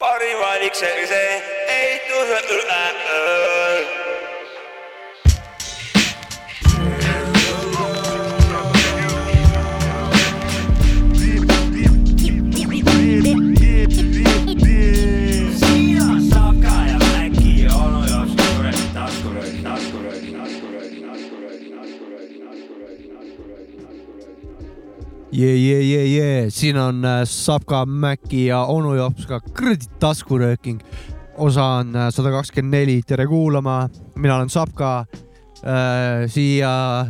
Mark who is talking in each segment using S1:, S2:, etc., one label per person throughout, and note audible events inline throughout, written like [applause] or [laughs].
S1: pari valikselise ehituse üle öö.
S2: jee , jee , jee , jee , siin on äh, Sapka , Mäki ja onu Jopska kuradi taskurööking . osa on äh, sada kakskümmend neli , tere kuulama , mina olen Sapka äh, . siia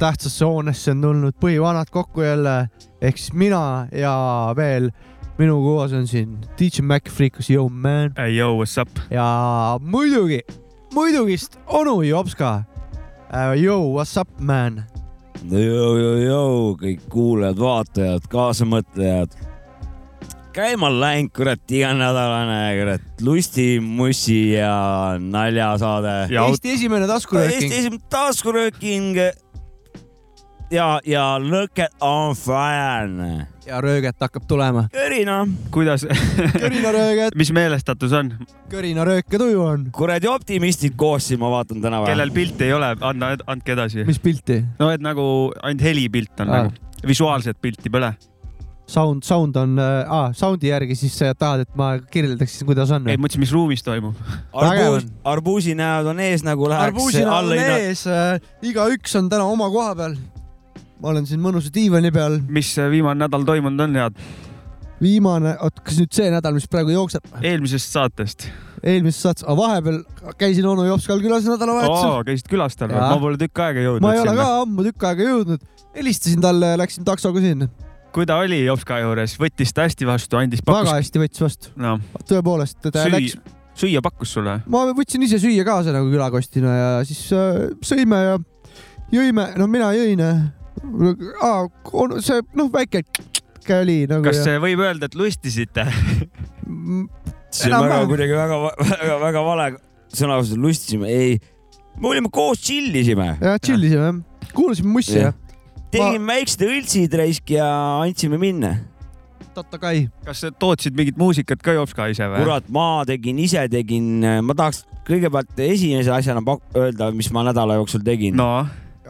S2: tähtsasse hoonesse on tulnud põhivanad kokku jälle ehk siis mina ja veel minu koos on siin DJ Mac Freekus , yo man
S3: Hey yo , what's up ?
S2: ja muidugi , muidugist onu Jopska äh, . Yo , what's up man ?
S4: jõujõujõu , kõik kuulajad-vaatajad , kaasamõtlejad . käima on läinud , kurat , iganädalane , kurat , lustimussi ja naljasaade .
S3: ja
S2: Eesti esimene taskurööking
S4: Eesti . esimene taskurööking . ja , ja Look at on fire .
S2: ja rööget hakkab tulema .
S4: Körina ,
S3: kuidas , [laughs]
S2: körinarööget ,
S3: mis meelestatus on ,
S2: körinarööke tuju on .
S4: kuradi optimistid koos siin , ma vaatan täna .
S3: kellel pilti ei ole , anna , andke edasi .
S2: mis pilti ?
S3: no et nagu ainult helipilt on
S2: Aa.
S3: nagu , visuaalset pilti pole .
S2: Sound , sound on äh, , aa , soundi järgi siis sa tahad , et ma kirjeldaksin , kuidas on
S3: ei ,? ma mõtlesin , mis ruumis toimub .
S4: arbuus
S2: Vägev on. ,
S4: arbuusi näod on ees nagu läheks
S2: arbuusinal on
S4: alla hinna .
S2: ees äh, , igaüks on täna oma koha peal . ma olen siin mõnusa diivani peal .
S3: mis äh, viimane nädal toimunud on , head ?
S2: viimane , oot , kas nüüd see nädal , mis praegu jookseb ,
S3: eelmisest saatest .
S2: eelmises saates , aga vahepeal käisin onu Jopskal külas nädalavahetusel .
S3: käisid külastel ,
S2: Jaa.
S3: ma pole tükk aega jõudnud
S2: ma ei ole ka
S3: sinna .
S2: ammu tükk aega jõudnud , helistasin talle , läksin taksoga sinna .
S3: kui ta oli Jopska juures , võttis ta hästi vastu , andis ,
S2: väga
S3: pakkus ,
S2: hästi võttis vastu ,
S3: noh ,
S2: tõepoolest , ta läks
S3: süüa , süüa pakkus sulle .
S2: ma võtsin ise süüa kaasa nagu külakostina ja siis äh, sõime ja jõime , no mina jõin . Ah, see noh , väike käe oli nagu .
S3: kas see võib öelda , et lustisite ?
S4: see on väga
S2: Enam-vähem.
S4: kuidagi [laughs] väga-väga-väga vale sõna , lustisime , ei , me olime koos , tšillisime
S2: jah , tšillisime jah , kuulasime mussi
S4: Jah.
S2: jah ,
S4: tegime ma... väiksed õltsid raisk ja andsime minna .
S2: Tatakai .
S3: kas sa tootsid mingit muusikat ka Jopska ise või ?
S4: kurat , ma tegin ise , tegin , ma tahaks kõigepealt esimese asjana pak- öelda , mis ma nädala jooksul tegin no, .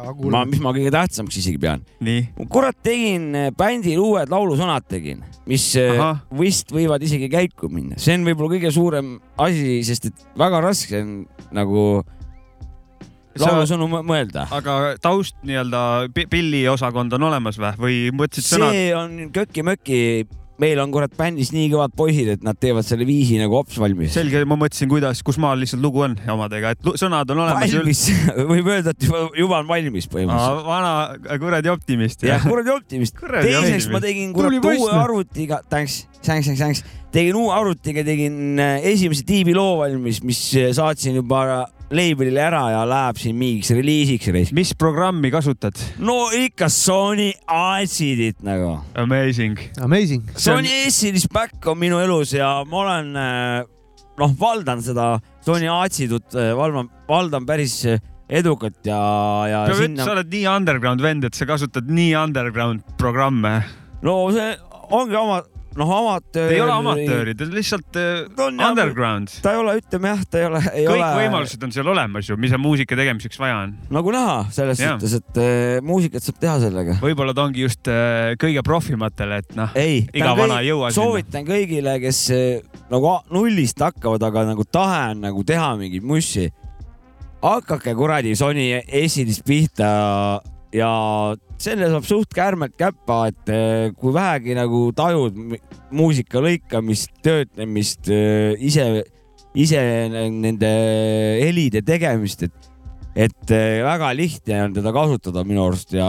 S3: no
S4: ma , mis ma kõige tähtsamaks isegi pean .
S3: nii ,
S4: kurat , tegin eh, bändil uued laulusõnad tegin , mis Aha.
S3: ahah ,
S4: vist võivad isegi käiku minna . see on võib-olla kõige suurem asi , sest et väga raske on nagu
S3: sa ,
S4: laulusõnu mõ- mõelda .
S3: aga taust nii-öelda pi- pilliosakond on olemas või , või mõtlesid sõnad ?
S4: see on köki-möki , meil on kurat bändis nii kõvad poisid , et nad teevad selle viisi nagu hops valmis .
S3: selge , ma mõtlesin , kuidas , kus maal lihtsalt lugu on omadega , et lu- sõnad on olemas .
S4: valmis , [laughs] võib öelda , et juba, juba on valmis põhimõtteliselt .
S3: vana kuradi optimist .
S4: jah , kuradi optimist .
S3: Kuradi
S4: teiseks
S3: optimist.
S4: ma tegin kurat
S2: Tubli poiss,
S4: uue
S2: noh.
S4: arvutiga , thanks , thanks , thanks , thanks , tegin uue arvutiga , tegin äh, esimese tiibi loo valmis , mis äh, saatsin juba label'ile ära ja läheb siin mingiks reliisiks reis .
S3: mis programmi kasutad ?
S4: no ikka Sony Acidit nagu .
S3: Amazing .
S2: Amazing .
S3: See on-
S4: Sony Acidis back on minu elus ja ma olen äh, noh , valdan seda Sony Acidut , valdan , valdan päris äh, edukalt ja , ja
S3: peab ütlema ,
S4: sinna
S3: sa oled nii underground vend , et sa kasutad nii underground programme .
S4: no see ongi oma , noh , amatöör .
S3: ei ole amatööri , ta on lihtsalt
S4: Ta
S3: äh,
S4: on jah-
S3: underground .
S4: ta ei ole , ütleme jah , ta ei ole , ei
S3: kõik
S4: ole .
S3: võimalused on seal olemas ju , mis on muusika tegemiseks vaja on .
S4: nagu näha selles
S3: Jah.
S4: suhtes , et eh, muusikat saab teha sellega .
S3: võib-olla ta ongi just äh, kõige profimatele , et noh ,
S4: ei ,
S3: Iga vana ei jõua sinna.
S4: soovitan kõigile , kes eh, nagu a- nullist hakkavad , aga nagu tahe on nagu teha mingit mussi . hakake kuradi Sony esilist pihta ja selle saab suht kärmelt käppa , et eh, kui vähegi nagu tajud mi- muusika lõikamist , töötlemist , ise , ise nende helide tegemist , et et eh, väga lihtne on teda kasutada minu arust ja ,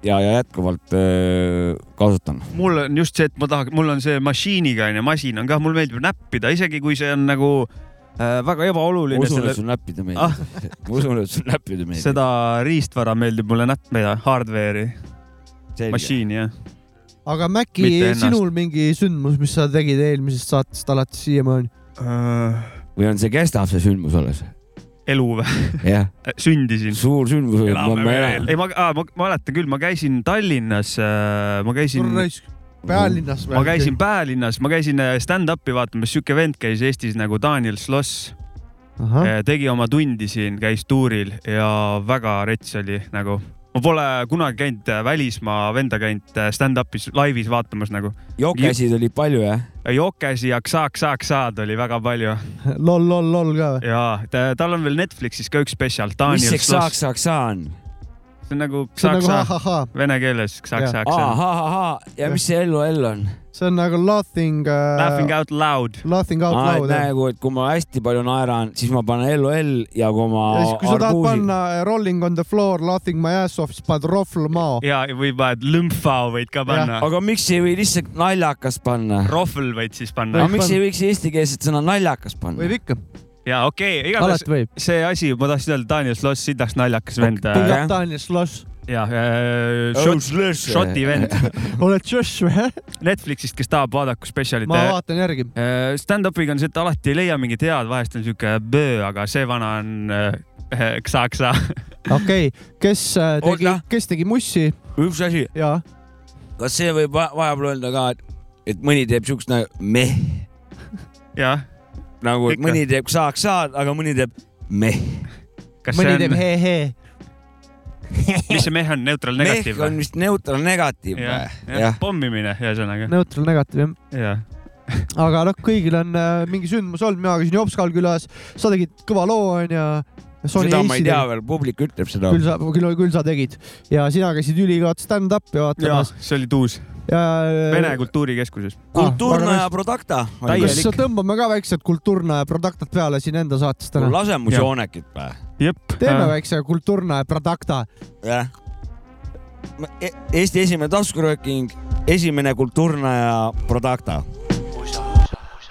S4: ja , ja jätkuvalt eh, kasutan .
S3: mul on just see , et ma tahan , mul on see masiiniga onju , masin on kah , mulle meeldib näppida , isegi kui see on nagu äh, väga
S4: ma
S3: ebaoluline
S4: usun ,
S3: selle
S4: et , sul näppida meeldib
S3: Ah.
S4: ah. . ma usun , et sul näppida meeldib .
S3: seda riistvara meeldib mulle näppida , hardware'i , masiini jah .
S2: aga Mäki
S3: Mitte , ennast.
S2: sinul mingi sündmus , mis sa tegid eelmisest saatest alates siiamaani ?
S4: või on see , kestab see sündmus alles ?
S3: elu või ,
S4: jah ,
S3: sündisin .
S4: suur sündmus oli , ma
S3: elame
S4: ma elan .
S3: ei , äh, ma , ma mäletan küll , ma käisin Tallinnas , ma käisin ,
S2: raisk . pealinnas
S3: ma käisin Päälinnas , ma käisin äh, stand-up'i vaatamas , siuke vend käis Eestis nagu Daniel Sloss ,
S2: ahah ,
S3: Eh, tegi oma tundi siin , käis tuuril ja väga rets oli nagu . ma pole kunagi käinud äh, välismaa venda käinud äh, stand-up'is laivis vaatamas nagu .
S4: jokesid oli palju jah ?
S3: jokesi ja ksaak-saak-saad oli väga palju
S2: lol , lol , lol ka või ?
S3: ja ta, tal on veel Netflixis ka üks spetsial ,
S4: mis
S3: Daniel
S4: see
S3: Sloss .
S4: ksaak-saak-saa on ?
S3: see on nagu
S2: see on nagu
S3: ksaak-saak ,
S2: ha-ha-ha ,
S3: vene keeles ksaak-saak .
S4: ahahahaa , ja mis see ellu-ell on ?
S2: see on nagu laughing
S3: Laughing
S2: uh, ,
S3: out loud .
S2: laughing out
S4: aa , et
S2: loud jah .
S4: nagu , et kui ma hästi palju naeran , siis ma panen LOL ja kui ma
S2: ja siis , kui sa tahad
S4: arbuusi ,
S2: panna eh, rolling on the floor , laughing my ass off , siis paned rohvl mao .
S3: ja või paned lõmpfao võid ka panna ,
S4: aga miks ei või lihtsalt naljakas panna ?
S3: rohvel võid siis panna
S4: aga
S2: Võib
S4: miks
S2: panna.
S4: ei võiks eestikeelset sõna naljakas panna ?
S2: võib ikka ,
S3: ja okei okay, , igatahes
S2: alati võib .
S3: see asi , ma tahtsin öelda , Daniel Sloss , sitaks naljakas vend eh,
S2: Big
S4: jah.
S2: up Daniel Sloss ,
S3: ja šot- , šoti vend
S2: oled Josh või ?
S3: Netflixist , kes tahab , vaadaku spetsialit
S2: ma . vaatan järgi .
S3: Stand-up'iga on see , et alati ei leia mingit head , vahest on siuke böö , aga see vana on äh, [laughs] ksaksa . [laughs]
S2: okei okay. , kes äh, tegi
S4: Olga. ,
S2: kes tegi mussi
S4: üks asi ,
S2: ja
S4: kas see võib va- vahepeal öelda ka , et , et mõni teeb siukest nagu meh ,
S3: jah ,
S4: nagu et
S3: Ikka.
S4: mõni teeb ksaak-saak , aga mõni teeb meh .
S3: kas
S2: mõni
S3: see
S2: teeb
S3: on ,
S2: he-he .
S3: [laughs] mis see meh on ,
S4: meh
S3: neutraalnegatiiv
S4: on
S3: või ?
S4: vist neutraalnegatiiv
S3: jah
S4: või ?
S3: ja.
S4: jah ,,
S3: pommimine ühesõnaga .
S2: neutral negatiiv jah ,
S3: jah ,
S2: aga noh , kõigil on äh, mingi sündmus olnud , mina käisin Jopskal külas , sa tegid kõva loo onju .
S4: seda ma ei tea veel , publik ütleb seda .
S2: küll sa , küll , küll sa tegid ja sina käisid ülikõvat stand-up'i
S3: jah ,
S2: vaatamas . eh,
S3: see oli tuus ,
S2: Äh,
S3: Vene . kultuurikeskuses .
S4: kultuurna ja Producta .
S2: kas
S3: täielik.
S2: tõmbame ka väiksed Kulturna ja Productat peale siin enda saates täna ?
S4: lase mu
S3: Jah.
S4: soonekit või ?
S3: jep . Äh,
S2: teeme väikse Kulturna ja Producta .
S4: jah . Eesti esimene taskurööking , esimene kultuurna ja Producta .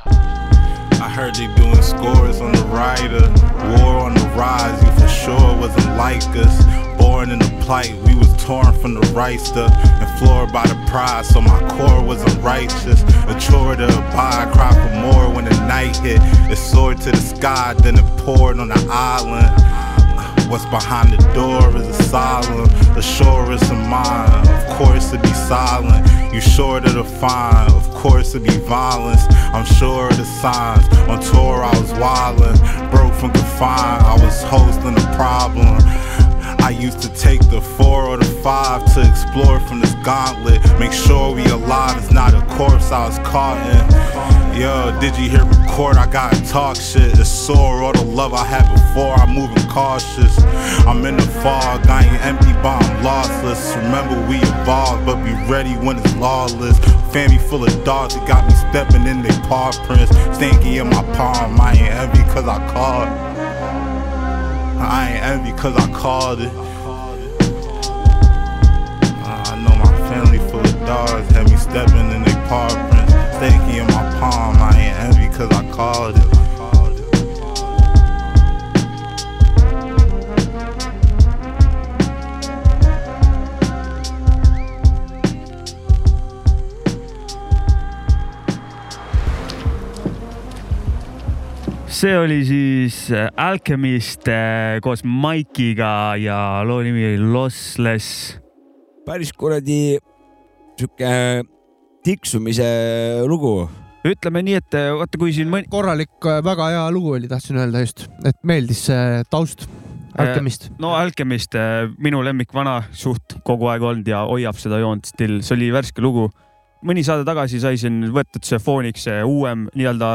S5: I heard they doing scores on the rider. War on the rise, you for sure wasn't like us. Born in a plight, we was torn from the ricer and floored by the pride, so my core wasn't righteous. A chore to abide, cry for more when the night hit. It soared to the sky, then it poured on the island. What's behind the door is a silent, the shore is a mine. Of course it be silent. You sure to define, of course it be violence. I'm sure of the signs. On tour I was wildin', broke from confine. I was hosting a problem. I used to take the four or the five to explore from this gauntlet. Make sure we alive, it's not a corpse I was caught in. Yo, did you hear record? I gotta talk shit. It's sore all the love I had before. I'm moving cautious. I'm in the fog, I ain't empty, but I'm lossless. Remember, we evolved, but be ready when it's lawless. Family full of dogs that got me stepping in their paw prints. Stanky in my palm, I ain't envy cause I called. I ain't envy cause I called it. I know my family full of dogs had me stepping in their paw prints. Stanky in my palm, I ain't envy cause I called it.
S3: see oli siis äh, Alchemist äh, koos Mike'iga ja loo nimi oli Lossless .
S4: päris kuradi sihuke tiksumise lugu .
S3: ütleme nii , et äh, vaata , kui siin mõni ,
S2: korralik , väga hea lugu oli , tahtsin öelda just , et meeldis see taust . Alkemist .
S3: no Alchemist , minu lemmik vana suht kogu aeg olnud ja hoiab seda joont still , see oli värske lugu . mõni saade tagasi sai siin võetud see fooniks see uuem nii-öelda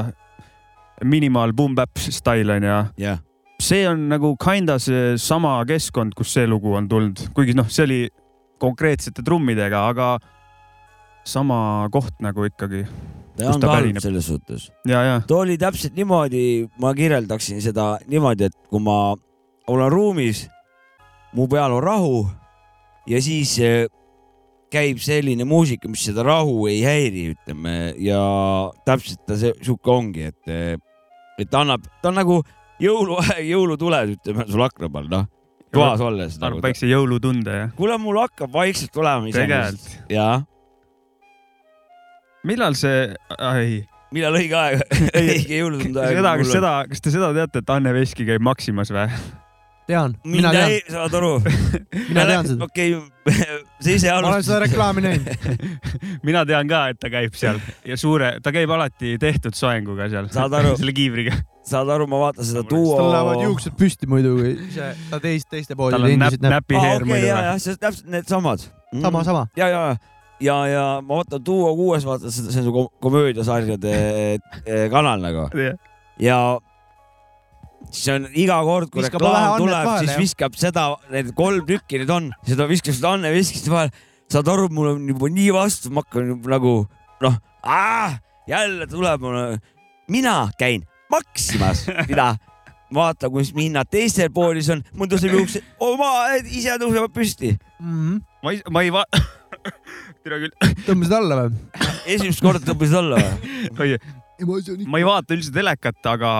S3: minimaal boom bap stail onju .
S4: jah ,
S3: see on nagu kinda see sama keskkond , kus see lugu on tulnud , kuigi noh , see oli konkreetsete trummidega , aga sama koht nagu ikkagi
S4: ta
S3: Kust
S4: on
S3: ta
S4: halb
S3: pärineb?
S4: selles suhtes .
S3: ja , ja
S4: too oli täpselt niimoodi , ma kirjeldaksin seda niimoodi , et kui ma olen ruumis , mu peal on rahu ja siis eh, käib selline muusika , mis seda rahu ei häiri , ütleme ja täpselt ta see sihuke ongi , et , et ta annab , ta on nagu jõulu , [laughs] jõulutuled , ütleme sul akna peal , noh , toas olles nagu.
S3: annab väikse jõulutunde ja .
S4: kuule , mul hakkab vaikselt tulema iseenesest .
S3: tegelikult ,
S4: jaa ,
S3: millal see , ei ,
S4: millal õige aeg , [laughs] õige jõulutund aeg .
S3: seda , kas seda , kas te seda teate , et Anne Veski käib Maximas või ? [laughs]
S2: tean , mina
S4: mind
S2: tean
S4: ei ,, saad aru ?
S2: mina tean seda .
S4: okei , [laughs] sa ise
S2: ma olen seda
S4: alustasid .
S2: reklaami
S3: [laughs]
S2: näinud .
S3: mina tean ka , et ta käib seal ja suure , ta käib alati tehtud soenguga seal .
S4: Saad aru?
S3: [laughs] selle kiivriga .
S4: saad aru , ma vaatan seda
S2: tal lähevad
S4: duo .
S2: juuksed püsti muidugi , ise ta teist , teiste
S3: tal
S2: poodide
S3: on näpp ,
S2: endiseid näpp .
S3: näpiheer
S4: okei ,
S3: muidu
S4: ja , ja see on täpselt needsamad .
S2: sama , sama .
S4: ja , ja , ja , ja ma vaatan Duo kuues , vaatan seda , see on su kom- komöödiasarjade eh, kanal nagu
S3: või ?
S4: ja siis on iga kord , kui
S2: Viskab
S4: reklaam
S2: vahe annet
S4: tuleb ,
S2: vahele,
S4: siis
S2: jah.
S4: viskab seda , need kolm tükki neid on , seda viskab seda Anne viskist vahel . saad aru , mul on juba nii vastu , ma hakkan juba nagu noh , jälle tuleb mulle . mina käin Maximas , mida vaata , kus hinnad teistel poolis on , mul tõuseb juuksed , oma ise tõusevad püsti .
S3: ma ei , ma ei va- , [laughs] tere küll ,
S2: tõmbasid alla või ?
S4: esimest korda tõmbasid alla või ?
S3: ma ei vaata üldse telekat , aga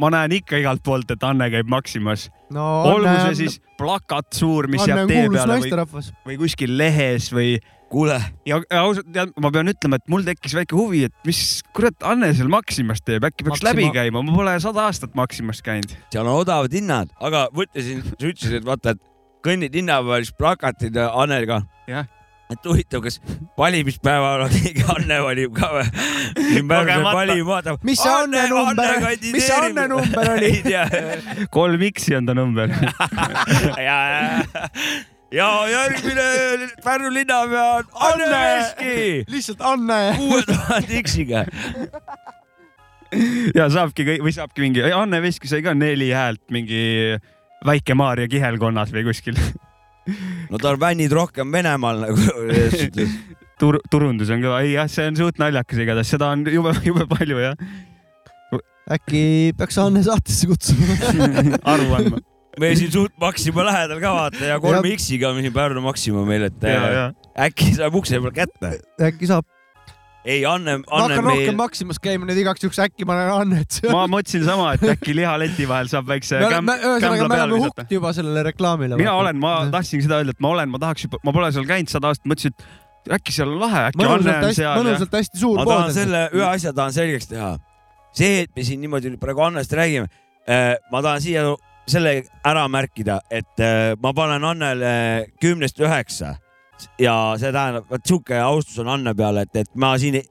S3: ma näen ikka igalt poolt , et Anne käib Maximas .
S2: no
S3: olgu see siis plakat suur , mis jääb tee peale või ,
S2: naisterahvas .
S3: või kuskil lehes või
S4: kuule ,
S3: ja ja ausalt , tead , ma pean ütlema , et mul tekkis väike huvi , et mis kurat Anne seal Maximas teeb , äkki peaks
S2: Maxima-
S3: läbi käima , ma pole sada aastat Maximas käinud .
S4: seal on odavad hinnad , aga ma ütlesin , sa ütlesid , et vaata , et kõnnid linna peal , siis plakatid ja Anneliga .
S3: Jah.
S4: et huvitav , kas valimispäeval on keegi Anne valib ka või ? siin päev
S3: Kogemata.
S4: läheb valima , vaatab .
S2: Mis see Anne number- mis see Anne number oli?
S4: [laughs] ei tea .
S3: kolm X-i on ta number .
S4: ja , ja , ja järgmine Pärnu linnapea on Anne
S2: Anne!
S4: Veski ,
S2: lihtsalt Anne .
S4: kuue tuhande X-iga .
S3: [laughs] ja saabki kõi- või saabki mingi , Anne Veski sai ka neli häält mingi Väike-Maarja kihelkonnas või kuskil .
S4: no tal fännid rohkem Venemaal
S2: [laughs]
S4: nagu .
S3: Tur- , turundus on kõva , ei jah , see on suht naljakas igatahes , seda on jube , jube palju
S2: [laughs]
S3: jah ,
S2: äkki peaks Anne saatesse
S3: [laughs]
S2: kutsuma ?
S3: aru andma .
S4: me siin suht Maxima lähedal ka vaata ja kolme
S2: Jah.
S4: X-iga on siin Pärnu Maxima meil , et
S3: ja , ja
S4: äkki saab ukse peal kätte .
S2: äkki saab .
S4: ei , Anne ,
S2: ma
S4: Anne
S2: hakkan rohkem
S4: meil ,
S2: Maximas käima nüüd igaks juhuks , äkki ma näen Annet seal .
S3: ma mõtlesin sama , et äkki lihaleti vahel saab väikse
S2: me
S3: käm-
S2: oleme , ühesõnaga
S3: kämbla
S2: me
S3: peale
S2: oleme
S3: visata .
S2: hukk juba sellele reklaamile .
S3: mina olen , ma . tahtsin seda öelda , et ma olen , ma tahaks juba , ma pole seal käinud sada aastat , mõtlesin , et äkki seal on lahe , äkki Anne
S2: mõnusalt
S3: on
S2: hästi ,
S3: seal ja
S2: mõnusalt hästi suur
S4: ma tahan
S2: pood on .
S4: selle , ühe asja tahan selgeks teha . see , et me siin niimoodi nüüd praegu Annest räägime , ma tahan siia selle ära märkida , et eh, ma panen Annele kümnest üheksa ja see tähendab , vot sihuke austus on Anne peale , et , et ma siin ei-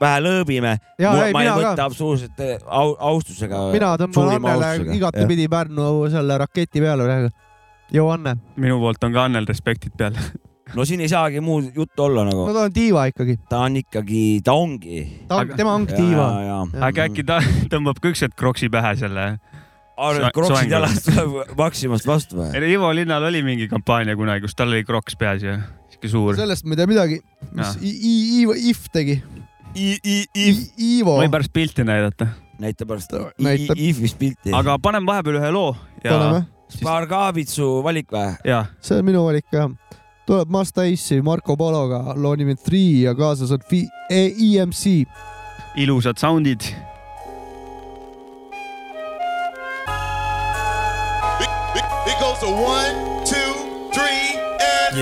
S4: vähe lõõbime .
S2: ja
S4: ma ,
S2: ei
S4: ma ei
S2: mina
S4: võta
S2: ka .
S4: absoluutselt eh, au- austusega .
S2: mina tõmban
S4: suurima
S2: Annele
S4: austusega, jah.
S2: igatepidi Pärnu selle raketi peale praegu . joo , Anne .
S3: minu poolt on ka Annel respektid peal .
S4: no siin ei saagi muud juttu olla nagu
S2: no , ta on diiva ikkagi .
S4: ta on ikkagi , ta ongi .
S2: ta on ,
S3: Aga-
S2: tema ongi diiva .
S3: aga äkki ta [laughs] tõmbab ka ükskord kroksi pähe selle .
S4: arvad ,
S3: Soe-
S4: et kroksid
S3: soeng-
S4: Mm. jalast tuleb Maximast vastu või ?
S3: Ivo Linnal oli mingi kampaania kunagi , kus tal oli kroks peas ja sihuke suur .
S2: sellest ma ei tea midagi , mis
S3: Jaa.
S2: I- I- Iivo , If tegi . Iivo
S3: ma . võin pärast pilti näidata ,
S4: näita pärast
S2: Ta-
S4: I-
S2: näitab.
S4: I- Ifis pilti .
S3: aga paneme vahepeal ühe loo ja ,
S2: paneme ,
S4: Spargabitsu valik või ?
S3: ja
S2: see on minu valik jah . tuleb Masta Ace'i Marko Pologa , loo nimi on Three ja kaasas on Fi- E- EMC .
S3: ilusad sound'id .
S6: It goes a one, two, three, and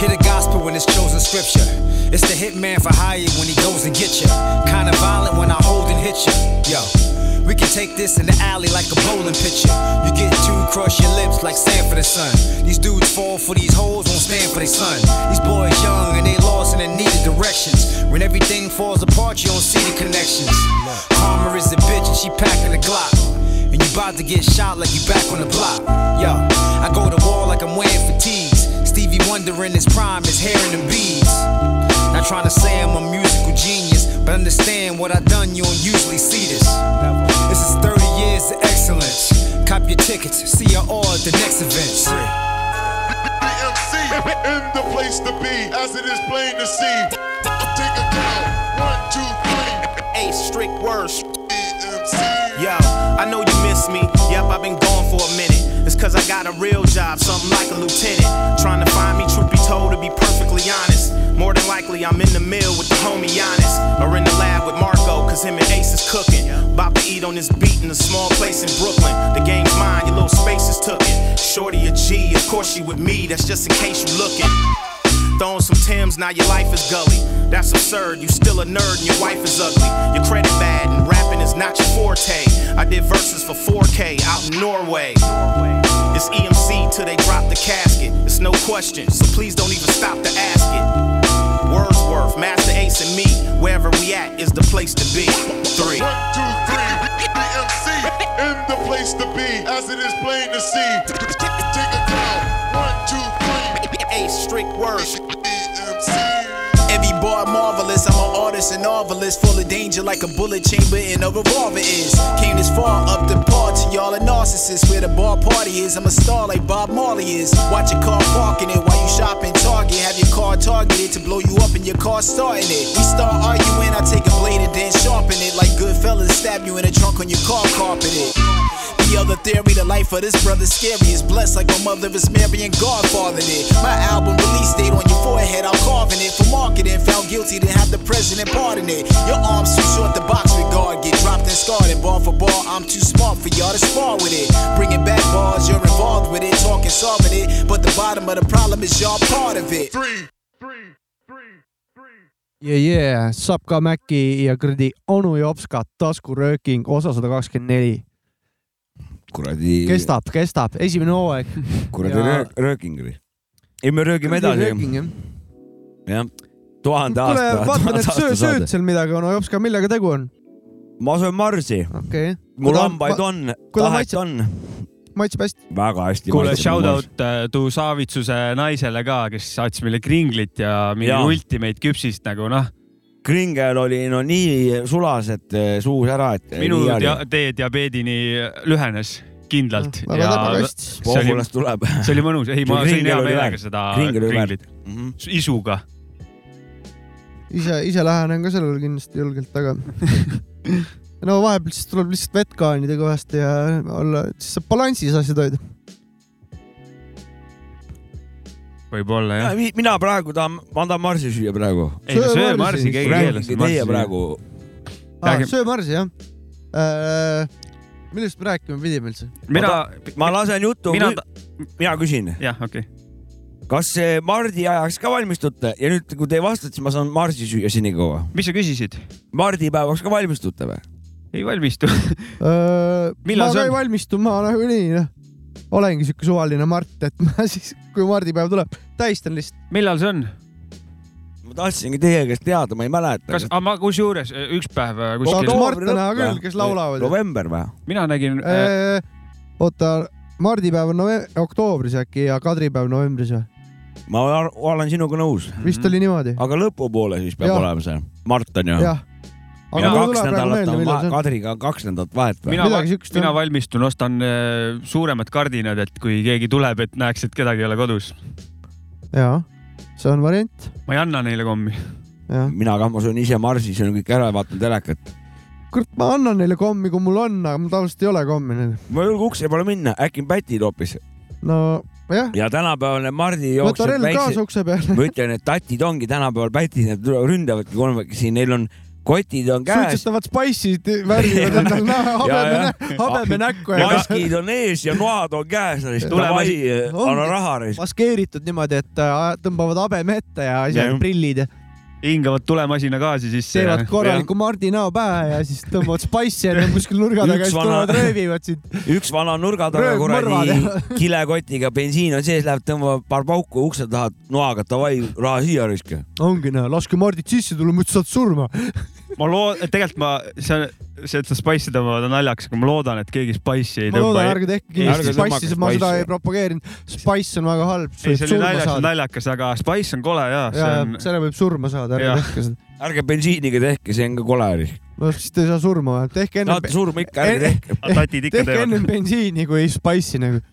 S7: Hear the gospel when it's chosen scripture. It's the hitman for hire when he goes and get you. Kinda violent when I hold and hit you. Yo, we can take this in the alley like a bowling picture. You get two, cross your lips like sand for the sun. These dudes fall for these hoes, won't stand for their son. These boys young and they lost and they needed directions. When everything falls apart, you don't see the connections. Karma is a bitch and she packing the Glock. And you bout to get shot like you back on the block. Yo, I go to war like I'm wearing fatigues. Stevie Wonder in his prime is hearing them bees. Not trying to say I'm a musical genius, but understand what I done, you don't usually see this. This is 30 years of excellence. Cop your tickets, see you all at the next event.
S6: BMC in the place to be, as it is plain to see. Take a count. One, two, three. E
S8: Hey, strict words.
S6: BMC.
S8: Yo, I know you miss me. Yep, I've been gone for a minute. It's cause I got a real job, something like a lieutenant. Trying to find me, truth be told, to be perfectly honest. More than likely, I'm in the mill with the homie Giannis. Or in the lab with Marco, cause him and Ace is cooking. About to eat on this beat in a small place in Brooklyn. The game's mine, your little space is took it. Shorty a G, of course you with me, that's just in case you looking. Throwing some Tim's, now your life is gully. That's absurd, you still a nerd and your wife is ugly. Your credit bad and rapping is not your forte. I did verses for 4K out in Norway. It's EMC till they drop the casket. It's no question, so please don't even stop to ask it. Wordsworth, Master Ace, and me, wherever we at is the place to be. Three.
S6: One, two, three. DMC in the place to be, as it is plain to see. Take a count. One, two, three.
S8: Ace, strict words.
S6: DMC.
S7: Every bar marvelous, I'm an artist and novelist, full of danger like a bullet chamber in a revolver is. Came this far up the par to y'all a narcissist. Where the bar party is, I'm a star like Bob Marley is. Watch your car parking it while you shopping Target. Have your car targeted to blow you up and your car starting it. We start arguing, I take a blade and then sharpen it like good fellas stab you in the trunk on your car carpet it. The other theory, the life of this brother's scary. Is blessed like my mother is Mary and Godfather it. My album release date on your forehead, I'm carving it for marketing. Found guilty, then have the president pardon it. Your arms too short, the box regard. Get dropped and scarred, and bar for bar, I'm too smart for y'all to spar with it. Bringing back bars, you're involved with it, talking solving it. But the bottom of the problem is y'all part of it.
S2: ja , ja saab ka Maci ja kuradi onu Jopska taskurööking osa sada kakskümmend neli .
S4: kuradi ,
S2: kestab , kestab , esimene hooaeg .
S4: kuradi
S2: ja-
S4: röö- rööking oli . ei , me röögime edasi , jah . tuhande
S2: kuule ,
S4: aasta ,
S2: vaatan ,
S4: tuhande
S2: et söö
S4: aasta ,
S2: sööd
S4: saade .
S2: seal midagi , onu Jopska , millega tegu on ?
S4: ma söön marsi ,
S2: okei okay. .
S4: mul hambaid . on ,
S2: kuule,
S4: tahet
S2: maitseb-
S4: on ,
S2: maitseb hästi .
S4: väga hästi .
S3: kuule , shout out äh, Tu Savitsuse naisele ka , kes saatis meile kringlit ja mingi
S4: Jaa.
S3: ultimate küpsist nagu noh ,
S4: kringel oli no nii sulas , et eh, suus ära , et .
S3: minu dia- tee diabeedini lühenes kindlalt
S2: Mm, Noh, väga
S3: ja
S2: tabaga hästi .
S3: see oli ,
S4: Voogulast tuleb .
S3: see oli mõnus , ei ma
S4: See
S3: sõin
S4: kringel
S3: hea
S4: oli
S3: meelega
S4: väärt.
S3: seda
S4: Kringel Mhm. oli
S3: kringlit , isuga .
S2: ise , ise lähenen ka sellele kindlasti julgelt ,
S4: [laughs]
S2: aga no vahepeal siis tuleb lihtsalt vett kaanida kõvasti ja olla , siis saab balansis asjad hoida .
S3: võib-olla jah .
S4: mina praegu tahan , ma tahan marsi süüa praegu .
S3: ei no
S2: Söö
S3: söö
S2: marsi.
S3: marsi , keegi ei keela
S4: rääkige teie
S3: seda .
S4: praegu .
S2: Ah,
S3: Räägi-
S2: söö marsi jah äh, . millest me rääkima pidime üldse ?
S3: mina ,
S4: ma lasen jutu ,
S3: mina ,
S4: mina küsin ,
S3: jah , okei .
S4: kas eh, Mardi ajaks ka valmistute ja nüüd , kui te vastate , siis ma saan marsi süüa senikaua .
S3: mis sa küsisid ?
S4: Mardi päevaks ka valmistute või ?
S3: ei valmistu . [laughs]
S2: Öö,
S3: Millal
S2: ma
S3: see
S2: ka
S3: on?
S2: ei valmistu , ma nagunii noh , olengi siuke suvaline Mart , et ma [laughs] siis , kui mardipäev tuleb , tähistan lihtsalt .
S3: millal see on ?
S4: ma tahtsingi teie käest teada , ma ei mäleta .
S3: kas , aga ma kusjuures äh, üks päev äh,
S2: Tahaks
S3: kuskil ,
S2: ma- Martena küll, kes laulavad.
S4: november või ?
S3: mina nägin äh, ,
S2: oota , mardipäev on nove- oktoobris äkki ja kadripäev novembris või ?
S4: Mhm. ma ar- olen sinuga nõus ,
S2: vist oli niimoodi ?
S4: aga lõpupoole siis peab
S2: Jah.
S4: olema see . Mart on ju ?
S2: jah .
S4: ja
S2: aga mul tuleb
S4: kaks
S2: praegu
S4: nädalat
S2: meelde ,
S4: on
S2: millal
S4: vahe ,
S2: see on .
S4: Kadriga on kaks nädalat vahet või ?
S3: mina
S2: midagi siukest , on.
S3: mina valmistun , ostan äh, suuremad kardinad , et kui keegi tuleb , et näeks , et kedagi ei ole kodus .
S2: jaa , see on variant ,
S3: ma ei anna neile kommi .
S2: jah .
S4: mina kah , ma söön ise marsi , söön kõik ära ja vaatan telekat .
S2: kurat , ma annan neile kommi , kui mul on , aga mul tavaliselt ei ole kommi neil .
S4: ma ei julge ukse peale minna , äkki pätid hoopis .
S2: no jah ,
S4: ja tänapäevane Mardi
S2: võta
S4: jookseb
S2: relv
S4: väikse
S2: kaasa , ukse peale .
S4: ma ütlen , et tatid ongi tänapäeval pätid , nad tulevad ründavadki kolmekesi , neil on kotid on käes ,
S2: suitsetavad spice'id , värvivad endal näo ,
S4: Jaa, Ah.
S2: habeme
S4: jaa. ,
S2: habeme näkku ja
S4: maskid on ees ja noad on käes , nad siis
S2: Ja
S4: tulevad
S2: davai, , ongi.
S4: anna raha neist .
S2: maskeeritud niimoodi , et äh, tõmbavad habeme ette ja asjad
S4: Jah.
S2: prillid ja
S3: hingavad tulemasina gaasi sisse .
S2: teevad korraliku Mardi näo pähe ja siis tõmbavad spice'i enne kuskil nurga taga ja
S4: Üks
S2: siis
S4: vana-
S2: tulevad röövivad sind .
S4: üks vana nurga taga
S2: Röövmõrvad, [laughs]
S4: kuradi
S2: jah.
S4: kilekotiga bensiin on sees , läheb tõmbab paar pauku ukse taha noaga , davai , raha siia raiska .
S2: ongi näo , laske Mardid sisse tulla , muidu saad surma .
S3: ma loo- , tegelikult ma , see , see , et sa spice'i tõmbavad , on naljakas , aga ma loodan , et keegi spice'i ei
S2: ma loodan ,
S3: tõmba .
S2: ärge tehke
S4: Ärge
S2: kindlasti
S4: tõmmake
S2: spice'i , ma seda
S4: spice'i.
S2: ei propageerinud . Spice on väga halb , sa
S3: ei ,
S2: võid
S3: see oli
S2: surma
S3: naljakas ,
S2: saada .
S3: naljakas , aga spice on kole ja
S2: ja
S3: see on ,
S2: selle võib surma saada ,
S3: Jah.
S2: ärge tehke seda .
S4: ärge bensiiniga tehke , see on ka kole risk .
S2: no siis te ei saa surma , tehke enne , e-
S4: saate surma ikka , ärge tehke .
S3: tatid ikka
S2: tehke enne
S3: teevad .
S2: bensiini kui spice'i nagu .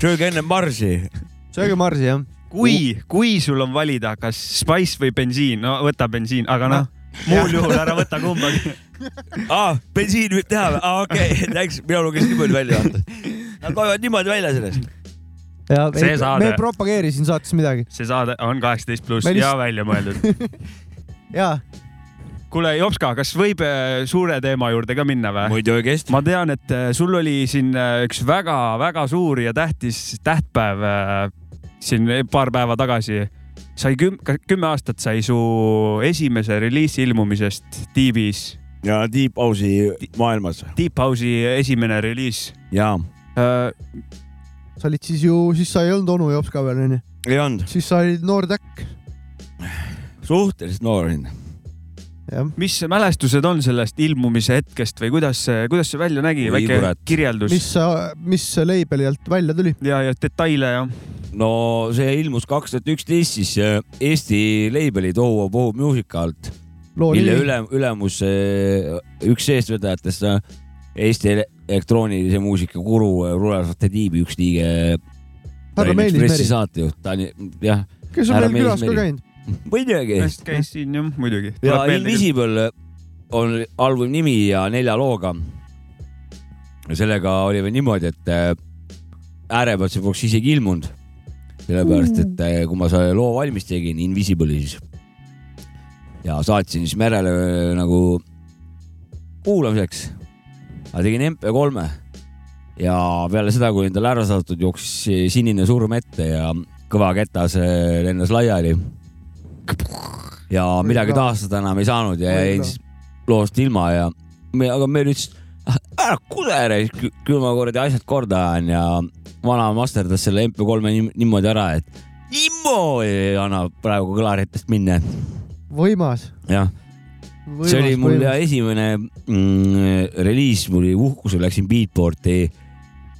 S4: sööge enne marsi .
S2: sööge Marsi jah .
S3: kui , kui sul on valida , kas spice või bensiin , no võta bensiin , aga noh , muul juhul ära võta kumbagi .
S4: aa , Ah, bensiin võib teha või ? aa , okei [laughs] okay. , thanks , mina lugesin niimoodi välja . Nad loevad niimoodi välja sellest .
S2: ja
S3: See
S2: ei,
S3: saade.
S2: me ei propageeri siin saates midagi .
S3: see saade on kaheksateist pluss
S2: Ma
S3: ja
S2: lihtsalt-
S3: välja mõeldud .
S2: jaa ,
S3: kuule , Jopska , kas võib äh, suure teema juurde ka minna või ?
S4: muidugi hästi .
S3: ma tean , et äh, sul oli siin äh, üks väga-väga suur ja tähtis tähtpäev äh, siin paar päeva tagasi . sai küm- , kümme aastat sai su esimese reliisi ilmumisest Tiibis ,
S4: ja Deep House'i maailmas
S3: Deep House'i esimene reliis . Äh,
S4: ja
S2: sa olid siis ju , siis sa ei olnud onu jops ka veel onju ,
S4: ei olnud ,
S2: siis sa olid noor täkk ,
S4: suhteliselt noor olin .
S2: jah .
S3: mis mälestused on sellest ilmumise hetkest või kuidas see , kuidas see välja nägi ,
S4: Oi,
S3: väike
S4: kurat.
S3: kirjeldus
S2: mis sa , mis label'i alt välja tuli ?
S3: ja , ja detaile ja
S4: no see ilmus kaks tuhat üksteist siis äh, Eesti label'i Toho Pohu Musica alt ,
S2: loo
S4: mille
S2: nimi ,
S4: üle , ülemus äh, üks eestvedajatest äh, Eesti ele- elektroonilise muusika guru äh, Rular Fatetiibi üks liige .
S2: härra Meelis
S4: Ekspressi
S2: Meri ,
S4: saatejuht , ta on jah ,
S2: kes on
S4: härra
S2: meil
S4: Meelis
S2: külas ka
S4: Meri.
S2: käinud .
S4: muidugi .
S3: vist käis siin jah , muidugi .
S4: ja Invisible on albumi nimi ja nelja looga . sellega oli veel niimoodi , et äh, äärepealt see poleks isegi ilmunud . sellepärast , et äh, kui ma selle loo valmis tegin , Invisible'i siis ja saatsin siis merele äh, nagu kuulamiseks . ma tegin MP3-e ja peale seda , kui endale ära saadetud , jooksis sinine surm ette ja kõva ketas äh, lennas laiali . ja midagi
S2: ka.
S4: taastada enam ei saanud ja
S2: Oi
S4: jäin
S2: ka.
S4: siis loost ilma ja me , aga me nüüd , ära kudere , küll ma kuradi asjad korda ajan ja vana masterdas selle MP3-e nim- niimoodi ära , et Immo ei anna praegu kõlaritest minna ,
S2: võimas .
S4: jah see oli mul ja esimene mm, reliis , mul oli uhkusel , läksin Beatporti ,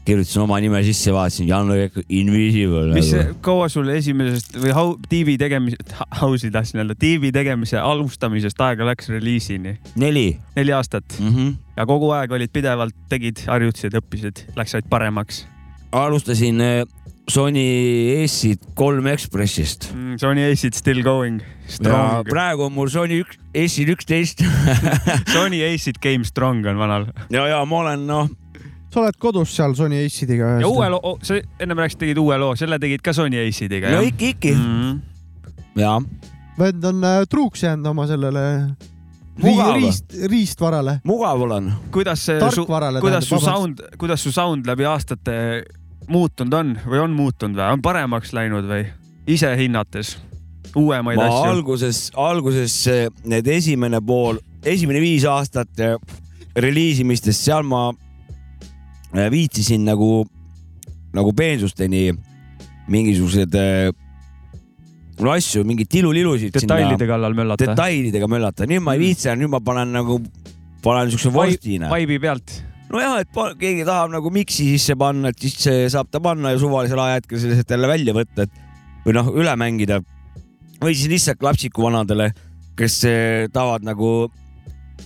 S4: kirjutasin oma nime sisse , vaatasin Jan Lõik , Invisible
S3: mis
S4: nagu. ,
S3: kaua sul esimesest või hau- tiivi tegemise , house'i tahtsin öelda , tiivi tegemise alustamisest aega läks reliisini ?
S4: neli
S3: neli aastat
S4: mm . -hmm.
S3: ja kogu aeg olid pidevalt , tegid , harjutasid , õppisid , läks said paremaks
S4: alustasin äh, Sony ES-id kolm Ekspressist .
S3: mm, . Sony Acid still going
S4: ja
S3: strong .
S4: praegu on mul Sony üks , ES-id üksteist
S3: Sony Acid game strong on vanal .
S4: [laughs] ja , ja ma olen noh ,
S2: sa oled kodus seal Sony Acidega .
S3: ja uue loo , sa ennem rääkisid , tegid uue loo , selle tegid ka Sony Acidiga
S4: no
S3: jah ?
S4: ikka , ikka mm. ja
S2: vend on äh, truuks jäänud oma sellele
S4: Mugav.
S2: ri- riist , riistvarale ,
S4: mugav olen .
S3: kuidas see su ,
S2: tarkvarale .
S3: kuidas su sound , kuidas su sound läbi aastate muutunud on või on muutunud või on paremaks läinud või ise hinnates uuemaid
S4: ma
S3: asju ?
S4: alguses , alguses eh, need esimene pool , esimene viis aastat eh, reliisimistest , seal ma eh, viitsisin nagu , nagu peensusteni mingisuguseid eh, no asju , mingeid tilulilusid
S3: detailide . kallal möllata ?
S4: detailidega möllata , nüüd ma ei viitsi , nüüd ma panen nagu , panen siukse vorstina .
S3: vaibi pealt .
S4: nojah , et pa- keegi tahab nagu miksi sisse panna , et siis see saab ta panna ja suvalisel ajahetkel see lihtsalt jälle välja võtta , et või noh , üle mängida . või siis lihtsalt lapsikuvanadele , kes eh, tahavad nagu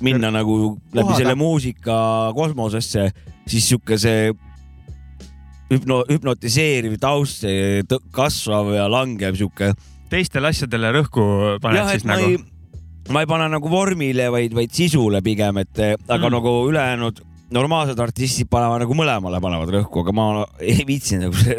S4: minna nagu läbi
S2: Kohale.
S4: selle muusika kosmosesse , siis sihuke see hüpno , hüpnotiseeriv taust , see tõ- kasvav ja langev sihuke .
S3: teistele asjadele rõhku paned
S4: jah ,
S3: siis
S4: et ma
S3: nagu
S4: ei , ma ei pane nagu vormile , vaid , vaid sisule pigem , et eh, aga
S3: Mm.
S4: mm. nagu ülejäänud normaalsed artistid panevad nagu mõlemale panevad rõhku , aga ma [laughs] ei viitsinud nagu see ,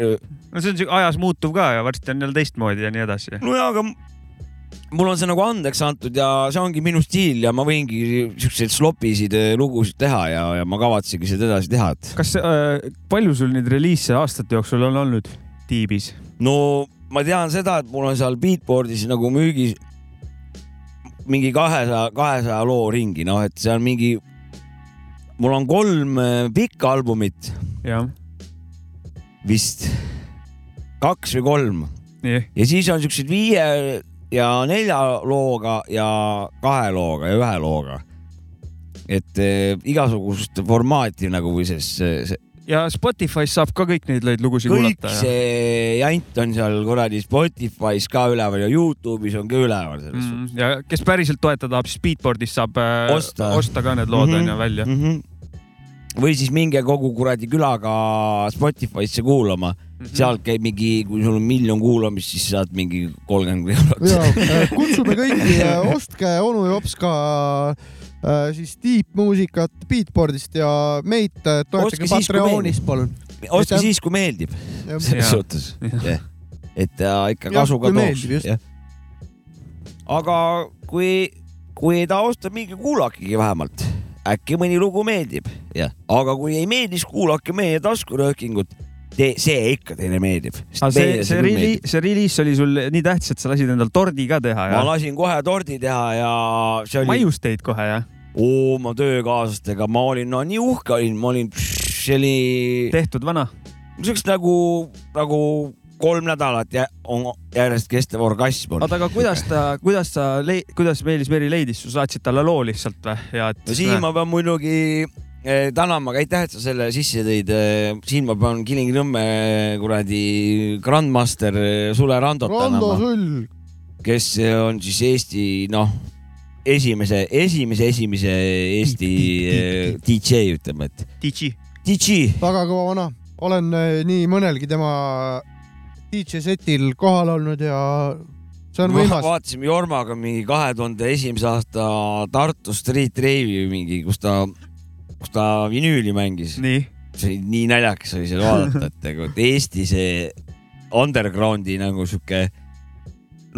S3: no see on siuke ajas muutuv ka ja varsti on jälle teistmoodi ja nii edasi .
S4: nojah , aga m- mul on see nagu andeks antud ja see ongi minu stiil ja ma võingi siukseid slopisid eh, lugusid teha ja , ja ma kavatsengi seda edasi teha , et
S3: kas äh, , palju sul neid reliise aastate jooksul on olnud tiibis ?
S4: no ma tean seda , et mul on seal beatboard'is nagu müügis mingi kahesaja , kahesaja loo ringi , noh , et see on mingi , mul on kolm eh, pikka albumit
S3: jah ,
S4: vist kaks või kolm
S3: nii ,
S4: ja siis on siuksed viie ja nelja looga ja kahe looga ja ühe looga . et eh, igasugust formaati nagu või siis see, see,
S3: ja Spotify's saab ka kõik neid neid lugusid
S4: kõik
S3: kuulata ja
S4: see jant on seal kuradi Spotify's ka üleval ja Youtube'is on ka üleval selles
S3: mm, ja kes päriselt toetada tahab , siis Beatboardist saab äh,
S4: Osta.
S3: osta ka need lood
S4: Mhm.
S3: onju välja .
S4: mm . -hmm. või siis minge kogu kuradi külaga Spotify'sse kuulama mm ,
S3: Mhm.
S4: -hmm. sealt käib mingi , kui sul on miljon kuulamist , siis saad mingi kolmkümmend eurot .
S2: jaa , kutsume kõiki , ostke onu jops ka äh, siis tiipmuusikat Beatboardist ja meid äh,
S4: Ostke
S2: toetage
S4: siis, kui
S2: Patreonis , palun .
S4: ostke
S2: Aitäh.
S4: siis , kui meeldib . selles
S3: Jaa.
S4: suhtes , et ta ikka
S2: Jah,
S4: kasu ka
S2: kui
S4: tooks
S2: meeldib, just. .
S4: aga kui , kui ei taha osta , minge kuulakegi vähemalt , äkki mõni lugu meeldib , jah . aga kui ei meeldi , siis kuulake meie taskuröökingut see ikka teile meeldib .
S3: aga see , see rili- , see reliis oli sul nii tähtis , et sa lasid endal tordi ka teha
S4: ma
S3: ja ?
S4: lasin kohe tordi teha ja see oli
S3: maius teid kohe jah ?
S4: oo, oma töökaaslastega , ma olin , no nii uhke olin , ma olin , see oli
S3: tehtud vana ?
S4: siukest nagu , nagu kolm nädalat jä, on järjest kestev orgasm on .
S3: oota , aga kuidas
S4: [laughs]
S3: ta , kuidas sa , kuidas Meelis Meri leidis , sa saatsid talle loo lihtsalt või ja et
S4: no siin ma pean muidugi eh, tänama , aga aitäh , et sa selle sisse tõid . siin ma pean Kilingi-Nõmme eh, kuradi grandmaster eh, Sule Randot
S2: Rando
S4: tänama ,
S2: Sull .
S4: kes eh, on siis Eesti , noh , esimese , esimese , esimese Eesti
S2: [laughs]
S4: eh, DJ ütleme , et
S3: DJ ?
S4: DJ .
S2: väga kõva vana , olen eh, nii mõnelgi tema DJ setil kohal olnud ja see on võimas .
S4: vaatasime Jormaga mingi kahe tuhande esimese aasta Tartu Street Rave'i mingi , kus ta , kus ta vinüüli mängis .
S3: nii ,
S4: see oli nii naljakas oli seal vaadata , et nagu et Eesti see undergroundi nagu sihuke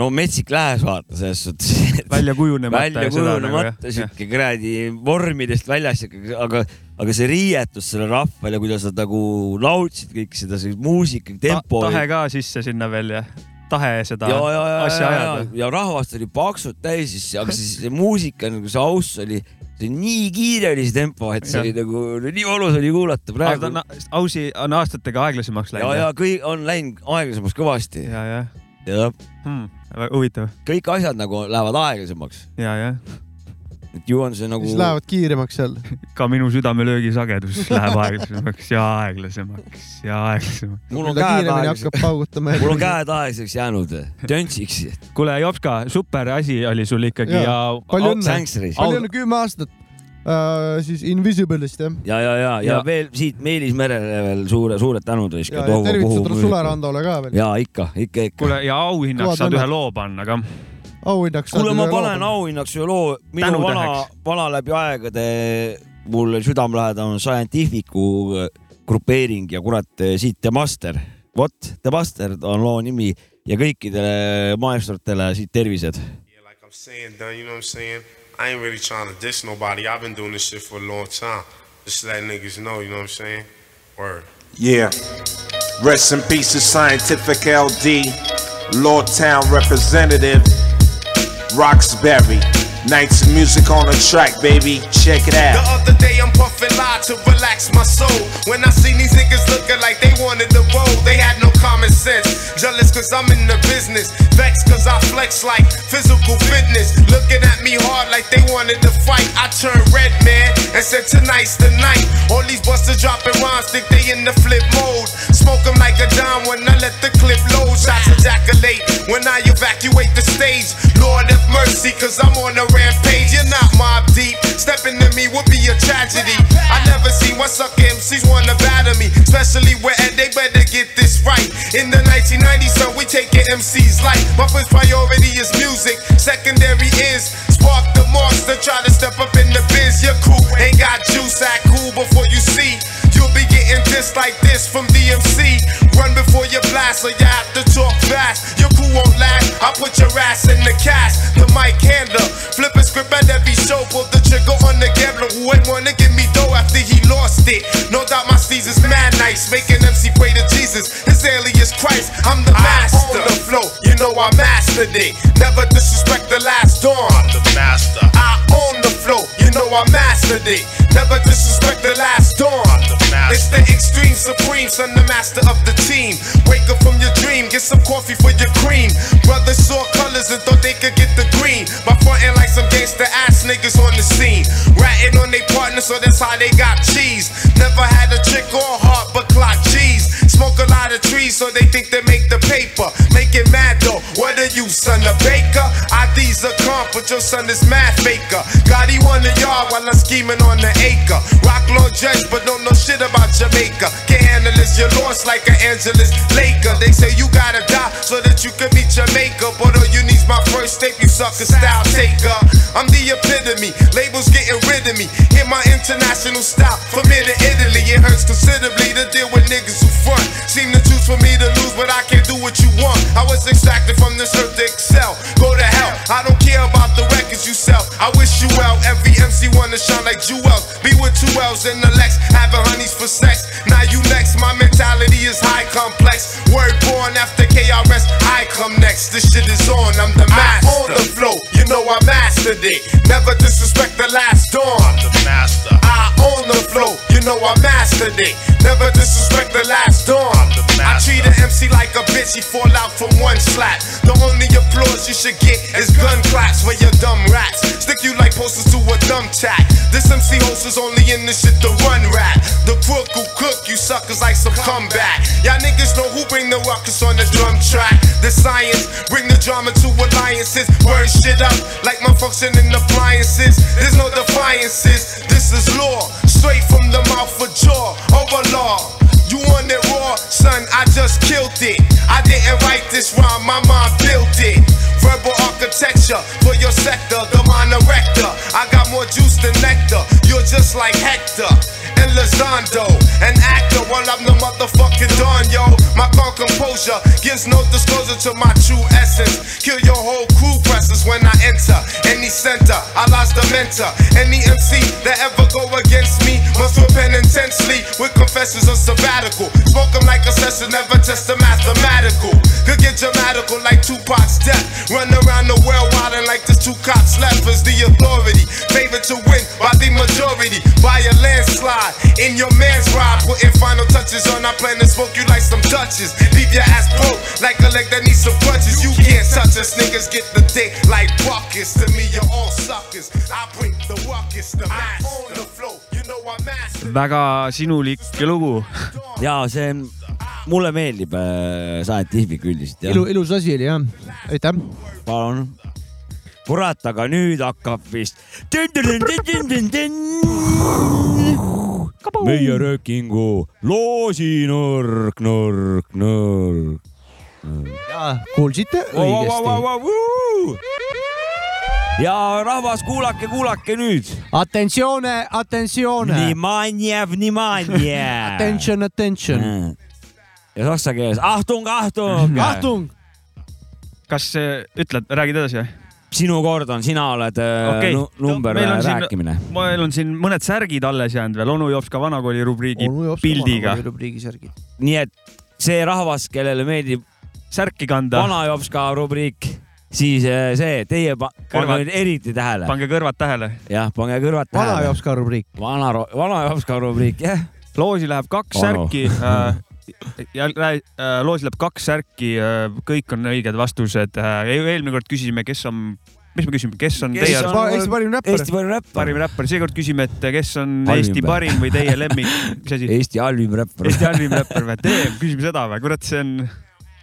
S4: no metsik lääs vaata selles suhtes , et
S3: välja kujunemata . nagu,
S4: välja kujunemata sihuke kuradi vormidest väljas , aga , aga see riietus selle rahvale , kuidas nad nagu laulsid kõik seda , see muusika tempo .
S3: tahe ka sisse sinna veel ja tahe seda
S4: ja , ja , ja ,
S3: asja
S4: ja , ja
S3: ajada .,
S4: ja rahvast oli paksult täis , siis , aga siis see muusika nagu see aus oli , see nii kiire oli see tempo , et see
S3: Jah.
S4: oli nagu nii mõnus oli kuulata
S3: aga ta
S4: praegu
S3: on . ausi , on aastatega aeglasemaks
S4: ja ,
S3: läinud .
S4: ja kõik on läinud aeglasemaks kõvasti
S3: ja , ja
S4: ja
S3: hmm, , väga huvitav
S4: kõik asjad nagu lähevad aeglasemaks ,
S3: ja , ja
S4: et ju on see nagu
S2: siis lähevad kiiremaks jälle .
S3: ka minu südamelöögi sagedus [laughs] läheb aeglasemaks ja aeglasemaks ja aeglasemaks .
S4: mul on
S2: mida
S4: käed
S2: kiiremini
S4: aeglasemaks ,
S2: hakkab paugutama .
S4: [laughs] mul on käed aeglaseks jäänud ,
S2: [laughs]
S4: töntsiks ,
S3: kuule , Jopska , super asi oli sul ikkagi ja,
S2: Jaa.
S3: ja...
S2: Palju õnne.
S4: sängsris
S2: oli jälle kümme aastat äh, siis Invisible'ist jah .
S4: ja , ja , ja , ja
S3: Ja-
S4: veel siit Meelis Merele veel suure , suured tänud vist .
S2: ja , ja tervitused Sule . Randole ka veel .
S4: ja ikka , ikka , ikka .
S3: kuule ja auhinnaks
S2: Kõvad
S3: saad
S2: õnned.
S3: ühe loo panna ka .
S2: auhinnaks .
S4: kuule , ma panen . auhinnaks ühe loo , minu
S3: Tänutäheks.
S4: vana , vana läbi aegade , mulle südamelähedane on Scientific'u äh, grupeering ja kurat , siit The Master . vot , The Master on loo nimi ja kõikidele maestritele siit tervised .
S9: Yeah, like I'm saying, done, you know what I'm saying? I ain't really trying to diss nobody. I've been doing this shit for a long time. Just to let niggas know, you know what I'm saying? Word.
S10: Yeah. Rest in peace to Scientific LD, Lordtown representative, Roxbury. Nights of music on the track, baby. Check it
S9: The
S10: out.
S9: other day I'm puffing lie to relax my soul. When I seen these niggas looking like they wanted to roll, they had no common sense. Jealous cause I'm in the business. Vexed cause I flex like physical fitness. Looking at me hard like they wanted to fight. I turned red, man, and said tonight's the night. All these busters dropping rhymes, think they in the flip mode. Smoke 'em like a dime when I let the clip load. Shots ejaculate when I evacuate the stage. Lord have mercy, cause I'm on a rampage. You're not mob deep. Stepping to me would be a tragedy. I never seen one sucker MCs wanna battle me. Especially where and they better get this right. In the 1990s, so we taking MCs life. My first priority is music. Secondary is spark the monster. Try to step up in the biz. Your crew ain't got juice. Act cool before you see. You'll be getting this like this from DMC. Run before you blast, or you have to talk fast. Your crew won't last. I put your ass in the cast. The mic handler, flip a script at every show. Pull the trigger on the gambler who ain't wanna give me dough after he lost it. No doubt my season's mad nice, making MC pray to Jesus. His alien is Christ. I'm the master. the flow, you know I mastered it. Never disrespect the last dawn. I'm the master. I own the flow, you know I mastered it. Never disrespect the last dawn. It's the extreme supreme, son, the master of the team. Wake up from your dream, get some coffee for your cream. Brothers saw colors and thought they could get the green. By frontin' like some gangsta ass niggas on the scene. Ratting on their partner, so that's how they got cheese. Never had a trick or a heart, but clock cheese. Smoke a lot of trees, so they think they make the paper. Make it mad though, what are you, son, a baker? ID's a comp, but your son is math faker. God, he won the yard while I'm scheming on the acre. Rock Lord Judge, but don't know shit about Jamaica. Can't handle this, you're lost like an Angeles Laker. They say you gotta die so that you can meet Jamaica. But all you need's my first tape, you sucker style taker. I'm the epitome, labels getting rid of me. Hit my international style from here to Italy. It hurts considerably to deal with niggas who front. Seem to choose for me to lose, but I can't do what you want. I was extracted from this earth to excel. Go to hell, I don't care about the records you sell. I wish you well, every MC wanna shine like Jewel. Be with two L's and the Lex, having honeys for sex. Now you next flex. My mentality is high complex. Word born after KRS, I come next. This shit is on, I'm the master. I own the flow, you know I mastered it. Never disrespect the last dawn. I'm the master. I own the flow, you know I mastered it. Never disrespect the last dawn. I'm the master. I treat an MC like a bitch, he fall out from one slap. The only applause you should get is gun claps for your dumb rats. Stick you like posters to a dumb chat. This MC host is only in this shit to run rap. The crook who cook you suckers like some comeback. Y'all niggas know who bring the ruckus on the drum track. The science bring the drama to alliances. Burn shit up like my functioning appliances. There's no defiances. This is law, straight from the mouth of jaw overlaw. You want it raw, son? I just killed it. I didn't write this rhyme, my mom built it. Verbal architecture for your sector, the minor rector. I got more juice than nectar. You're just like Hector and Lizondo, an actor. While I'm the motherfucking Don, yo. My calm composure gives no disclosure to my true essence. Kill your whole crew presses when I enter any center. I lost the mentor. Any MC that ever go against me must repent intensely with confessions of sabbatical. Smoke 'em like a session, never test the mathematical. Could get dramatical like Tupac's death. Run around the world wildin' like the two cops left is the authority. Favored to win by the majority. By a landslide in your man's ride. Putting final touches on our plan to smoke you like some touches. Leave your ass broke like a leg that needs some punches. You can't touch us, niggas get the dick like buckets. To me, you're all suckers. I bring the ruckus, the master. I own the flow, you know I'm master.
S3: väga sinulik lugu .
S4: ja see on , mulle meeldib äh, Saet Tihvik üldiselt
S2: ilu ,
S4: jah .
S2: ilus asi oli jah . aitäh .
S4: palun . kurat , aga nüüd hakkab vist . meie röökingu loosinurk , nurk , nurk .
S2: kuulsite õigesti .
S4: ja rahvas , kuulake , kuulake nüüd .
S2: Attenzione ,
S3: Oh,
S2: attenzione .
S4: Vнимание , vнимание .
S2: Attention , attention .
S4: ja saksa keeles Achtung ,
S3: [laughs]
S4: Achtung .
S2: Achtung .
S3: kas äh, ütled , räägid edasi või ?
S4: sinu kord on , sina oled okay.
S3: Okei.
S4: Äh, number
S3: No, meil
S4: no,
S3: on siin-
S4: rääkimine .
S3: meil on siin mõned särgid alles jäänud veel , onu Jopska vanakooli rubriigi pildiga .
S2: rubriigisärgid .
S4: nii et see rahvas , kellele meeldib
S3: särki kanda ,
S4: vana Jopska rubriik , siis äh, see , teie pa- pange
S3: Kõrvad-
S4: nüüd eriti tähele ,
S3: pange kõrvad tähele .
S4: jah , pange kõrvad
S2: vana
S4: tähele .
S2: jaoks ka rubriik .
S4: vana , vana Jopska rubriik , jah .
S3: loosi läheb kaks
S4: Vanu.
S3: särki äh, . ja lä- äh, loosi läheb kaks särki äh, , kõik on õiged vastused äh, . eelmine kord küsisime , kes on , mis me küsime , kes on
S4: Kes
S3: kes teie
S4: on-
S3: on...
S2: Eesti parim räppar .
S4: Eesti parim räppar ,
S3: parim räppar , seekord küsime , et kes on
S4: Halvim
S3: halvim Eesti
S4: või?
S3: parim või teie lemmik , mis asi ?
S4: Eesti halvim räppar .
S3: Eesti halvim räppar või ? tee , küsime seda või , kurat , see on ,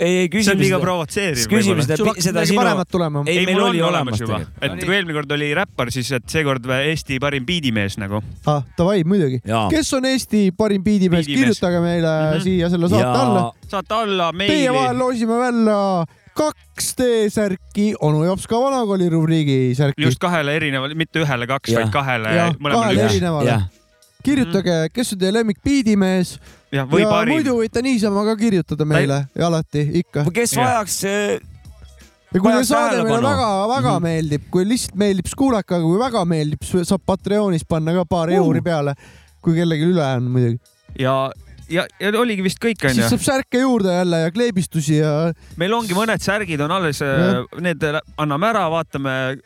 S4: ei , ei
S3: see on
S4: küsime
S3: liiga
S4: seda ,
S3: provotseeriv .
S4: küsime
S2: Sul
S4: seda ,
S2: hakkas
S4: seda
S2: midagi
S4: sinu , E-
S2: paremat tulema.
S4: ei , meil oli olemas
S3: juba
S4: tegelikult .,
S3: et kui eelmine kord oli räppar , siis et seekord või Eesti parim biidimees nagu .
S2: ah , davai , muidugi
S4: Jaa. . Mhm.
S2: kes on Eesti parim biidimees ,
S3: Biidimees.
S2: kirjutage meile mm -hmm. siia selle saate ja... alla .
S3: saate alla
S2: Teie vahel
S3: meili .
S2: loosime välja kaks T-särki onu Jopska vanakooli rubriigi särki .
S3: just kahele erinevale , mitte ühele kaks ,
S4: Jah.
S3: vaid kahele
S2: Jah, ,
S3: mõlemale
S2: kahele
S3: üks .
S2: erinevale.
S4: jah , Mhm.
S2: kirjutage , kes on teie lemmik biidimees
S3: jah , või
S2: ja muidu
S3: parim .
S2: võite niisama ka kirjutada meile ja alati ikka .
S4: kes
S3: Jah.
S4: vajaks , äh,
S2: ja kui teie
S4: vajaks
S2: saade meile
S4: tähelepanu.
S2: väga-väga
S4: Mhm.
S2: meeldib , kui lihtsalt meeldib , siis kuulake , aga kui väga meeldib , siis saab Patreonis panna ka paar euri peale , kui kellelgi üle on muidugi .
S3: ja , ja , ja oligi vist kõik ,
S2: siis
S3: onju .
S2: saab särke juurde jälle ja kleebistusi ja
S3: meil ongi mõned särgid on alles ,
S2: Jah.
S3: need lä- anname ära , vaatame .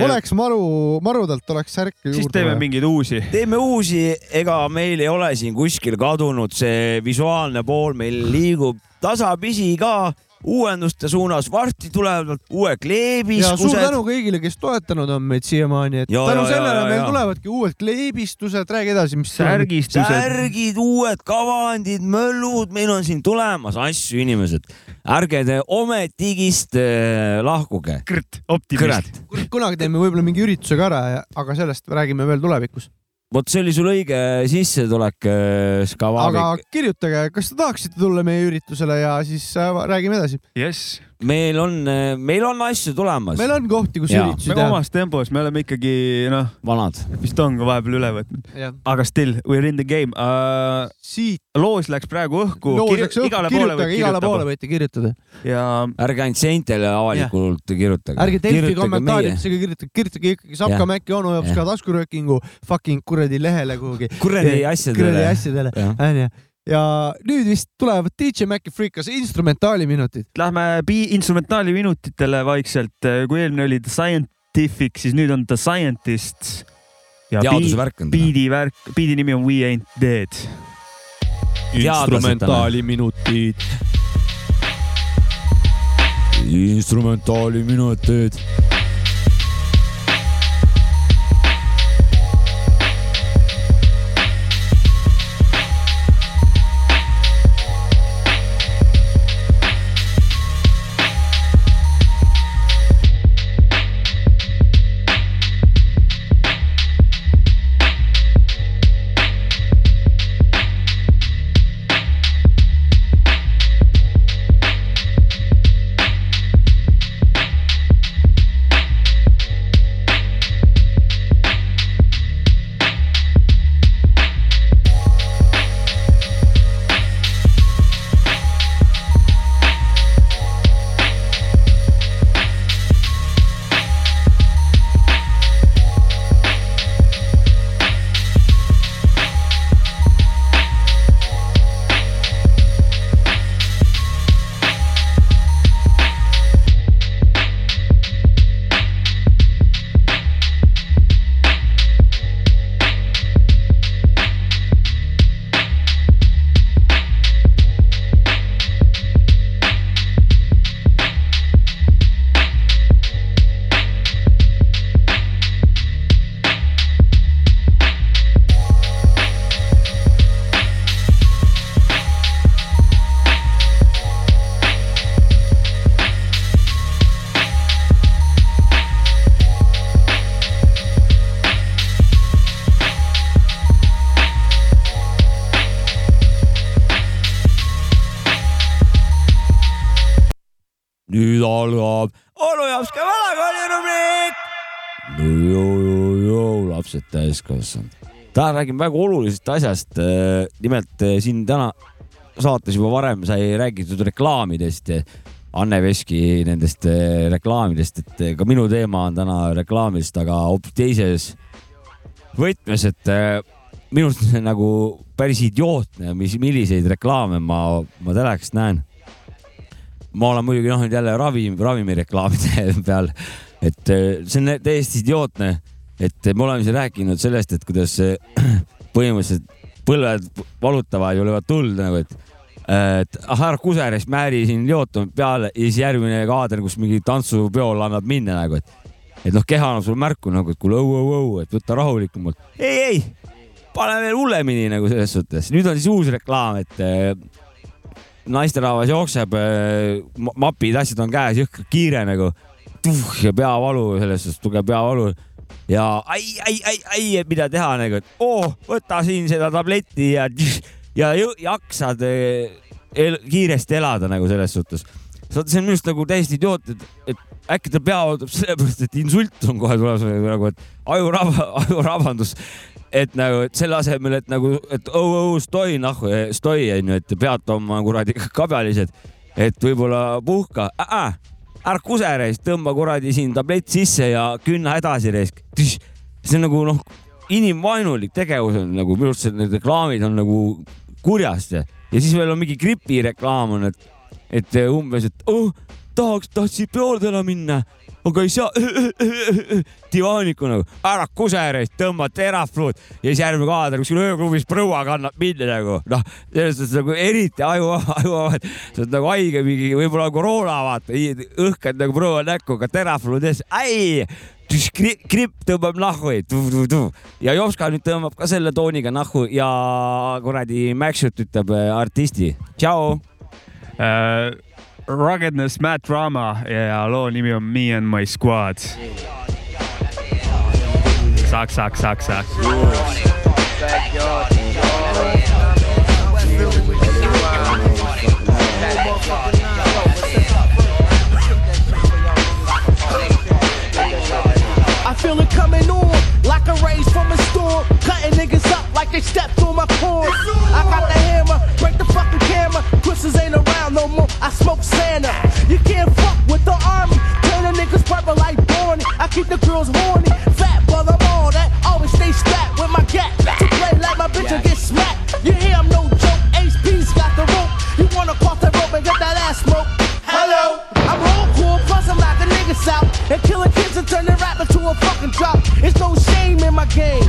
S2: oleks maru , marudelt oleks särke
S3: siis
S2: juurde
S3: teeme
S2: vaja .
S3: mingeid uusi .
S4: teeme uusi , ega meil ei ole siin kuskil kadunud see visuaalne pool , meil liigub tasapisi ka uuenduste suunas , varsti tulevad uue
S2: ja suur
S4: kleebiskused
S2: tänu . kõigile , kes toetanud on meid siiamaani , et
S4: Ja,
S2: tänu
S4: ja, ja,
S2: sellele
S4: ja,
S2: meil
S4: ja.
S2: tulevadki uued kleebistused , räägi edasi , mis särgi .
S3: särgistused .
S4: särgid , uued kavandid , möllud , meil on siin tulemas asju , inimesed . ärge te ometigist äh, lahkuge .
S3: kõrt , optimist .
S4: kurat ,
S2: kunagi teeme võib-olla mingi ürituse ka ära , aga sellest räägime veel tulevikus .
S4: vot see oli sul õige sissetulek , äh,
S2: aga
S4: Skavavik .
S2: kirjutage , kas te tahaksite tulla meie üritusele ja siis äh, räägime edasi .
S3: jess ,
S4: meil on , meil on asju tulemas ,
S2: meil on kohti , kus
S4: Jaa.
S2: üritusi
S3: me
S2: teha .
S3: omas tempos , me oleme ikkagi noh ,
S4: vanad .
S3: vist on ka vahepeal üle võtnud ,
S2: jah.
S3: aga still we are in the game uh, .
S2: siit
S3: loos läks praegu õhku .
S2: loos läks õhku , kirjutage , igale poole võite kirjutada .
S3: ja
S4: ärge ainult seintele avalikult kirjutage .
S2: ärge Delfi . kommentaaridesse kirjutage , kirjutage ikkagi Sapka
S4: Jah.
S2: Mäkki onu jaoks ka taskuröökingu fucking kuradi lehele kuhugi .
S4: kuradi asjadele .
S2: kuradi asjadele , onju . ja nüüd vist tulevad DJ Maci Freekas instrumentaaliminutid .
S3: Lähme bi- , instrumentaali minutitele vaikselt , kui eelmine oli The Scientific , siis nüüd on The Scientist .
S4: Teadusvärk on
S3: on . biidi värk , biidi nimi on We Ain't Dead .
S2: instrumentaaliminutid .
S4: instrumentaaliminutid . nüüd algab onu Jopska vanakooli rubriik . lapsed täiskasvanud . täna räägime väga olulisest asjast . nimelt eh, siin täna saates juba varem sai räägitud reklaamidest ja Anne Veski nendest eh, reklaamidest , et eh, ka minu teema on täna reklaamist , aga hoopis teises võtmes , et eh, minu arust see on nagu päris idiootne , mis , milliseid reklaame ma , ma telekast näen ma olen muidugi noh , nüüd jälle ravim , ravimireklaamide [laughs] peal , et eh, see on täiesti idiootne , et me oleme siin rääkinud sellest , et kuidas eh, [clears throat] põhimõtteliselt põlved valutavad ja löövad tuld nagu , et eh, et ah ära kuseres määri siin jootame peale ja siis järgmine kaader , kus mingi tantsupeol annab minna nagu , et et noh , keha annab sulle märku nagu , et kuule õu-õu-õu , et võta rahulikumalt . ei , ei , pane veel hullemini nagu selles suhtes , nüüd on siis uus reklaam , et eh, naisterahvas jookseb , mapid , asjad on käes , jõhkralt kiire nagu tuh, ja peavalu , selles suhtes tugev peavalu ja ai , ai , ai , ai , et mida teha nagu , et oo , võta siin seda tabletti ja tš, ja jõ- jaksad eh, el, kiiresti elada nagu selles suhtes . see on minu arust nagu täiesti idioot , et , et äkki ta peavalu tuleb sellepärast , et insult on kohe tulemas või nagu , et ajuraba , ajurabandus et nagu , et selle asemel , et nagu , et õu-õu , stoi , noh , stoi onju , et pead tooma kuradi kabjalised , et võib-olla puhka , ära kuse reis , tõmba kuradi siin tablett sisse ja künna edasi reis . see on nagu noh , inimvaenulik tegevus on nagu minu arust see- need reklaamid on nagu kurjast ja ja siis veel on mingi gripireklaam on , et , et umbes , et oh, tahaks , tahtsin peole täna minna , aga ei saa [laughs] divaaniku nagu , ära kusereid , tõmba terafluut ja siis järgmine kaader kuskil ööklubis proua kannab minna nagu , noh , selles suhtes nagu eriti aju , [laughs] aju , sa oled nagu haige mingi , võib-olla koroona vaata , õhkad nagu proua näkku , aga terafluut ees , ai , gripp tõmbab nahhu ja Jopska nüüd tõmbab ka selle tooniga nahhu ja kuradi Maxut ütleb äh, artisti , tšau
S3: uh, . Ruggedness , Matt Rama ja loo nimi on Me and my squad . Sak , sak , sak , sak .
S11: I feel it coming on like a raise from a storm. Cutting niggas up like they stepped on my corn. I got the hammer, break the fucking camera. Chris's ain't around no more. I smoke Santa. You can't fuck with the army. Turn the niggas purple like Barney. I keep the girls horny. Fat, but I'm all that. Always stay strapped with my cat. To play like my bitch will get smacked. You hear I'm no joke. Ace rain.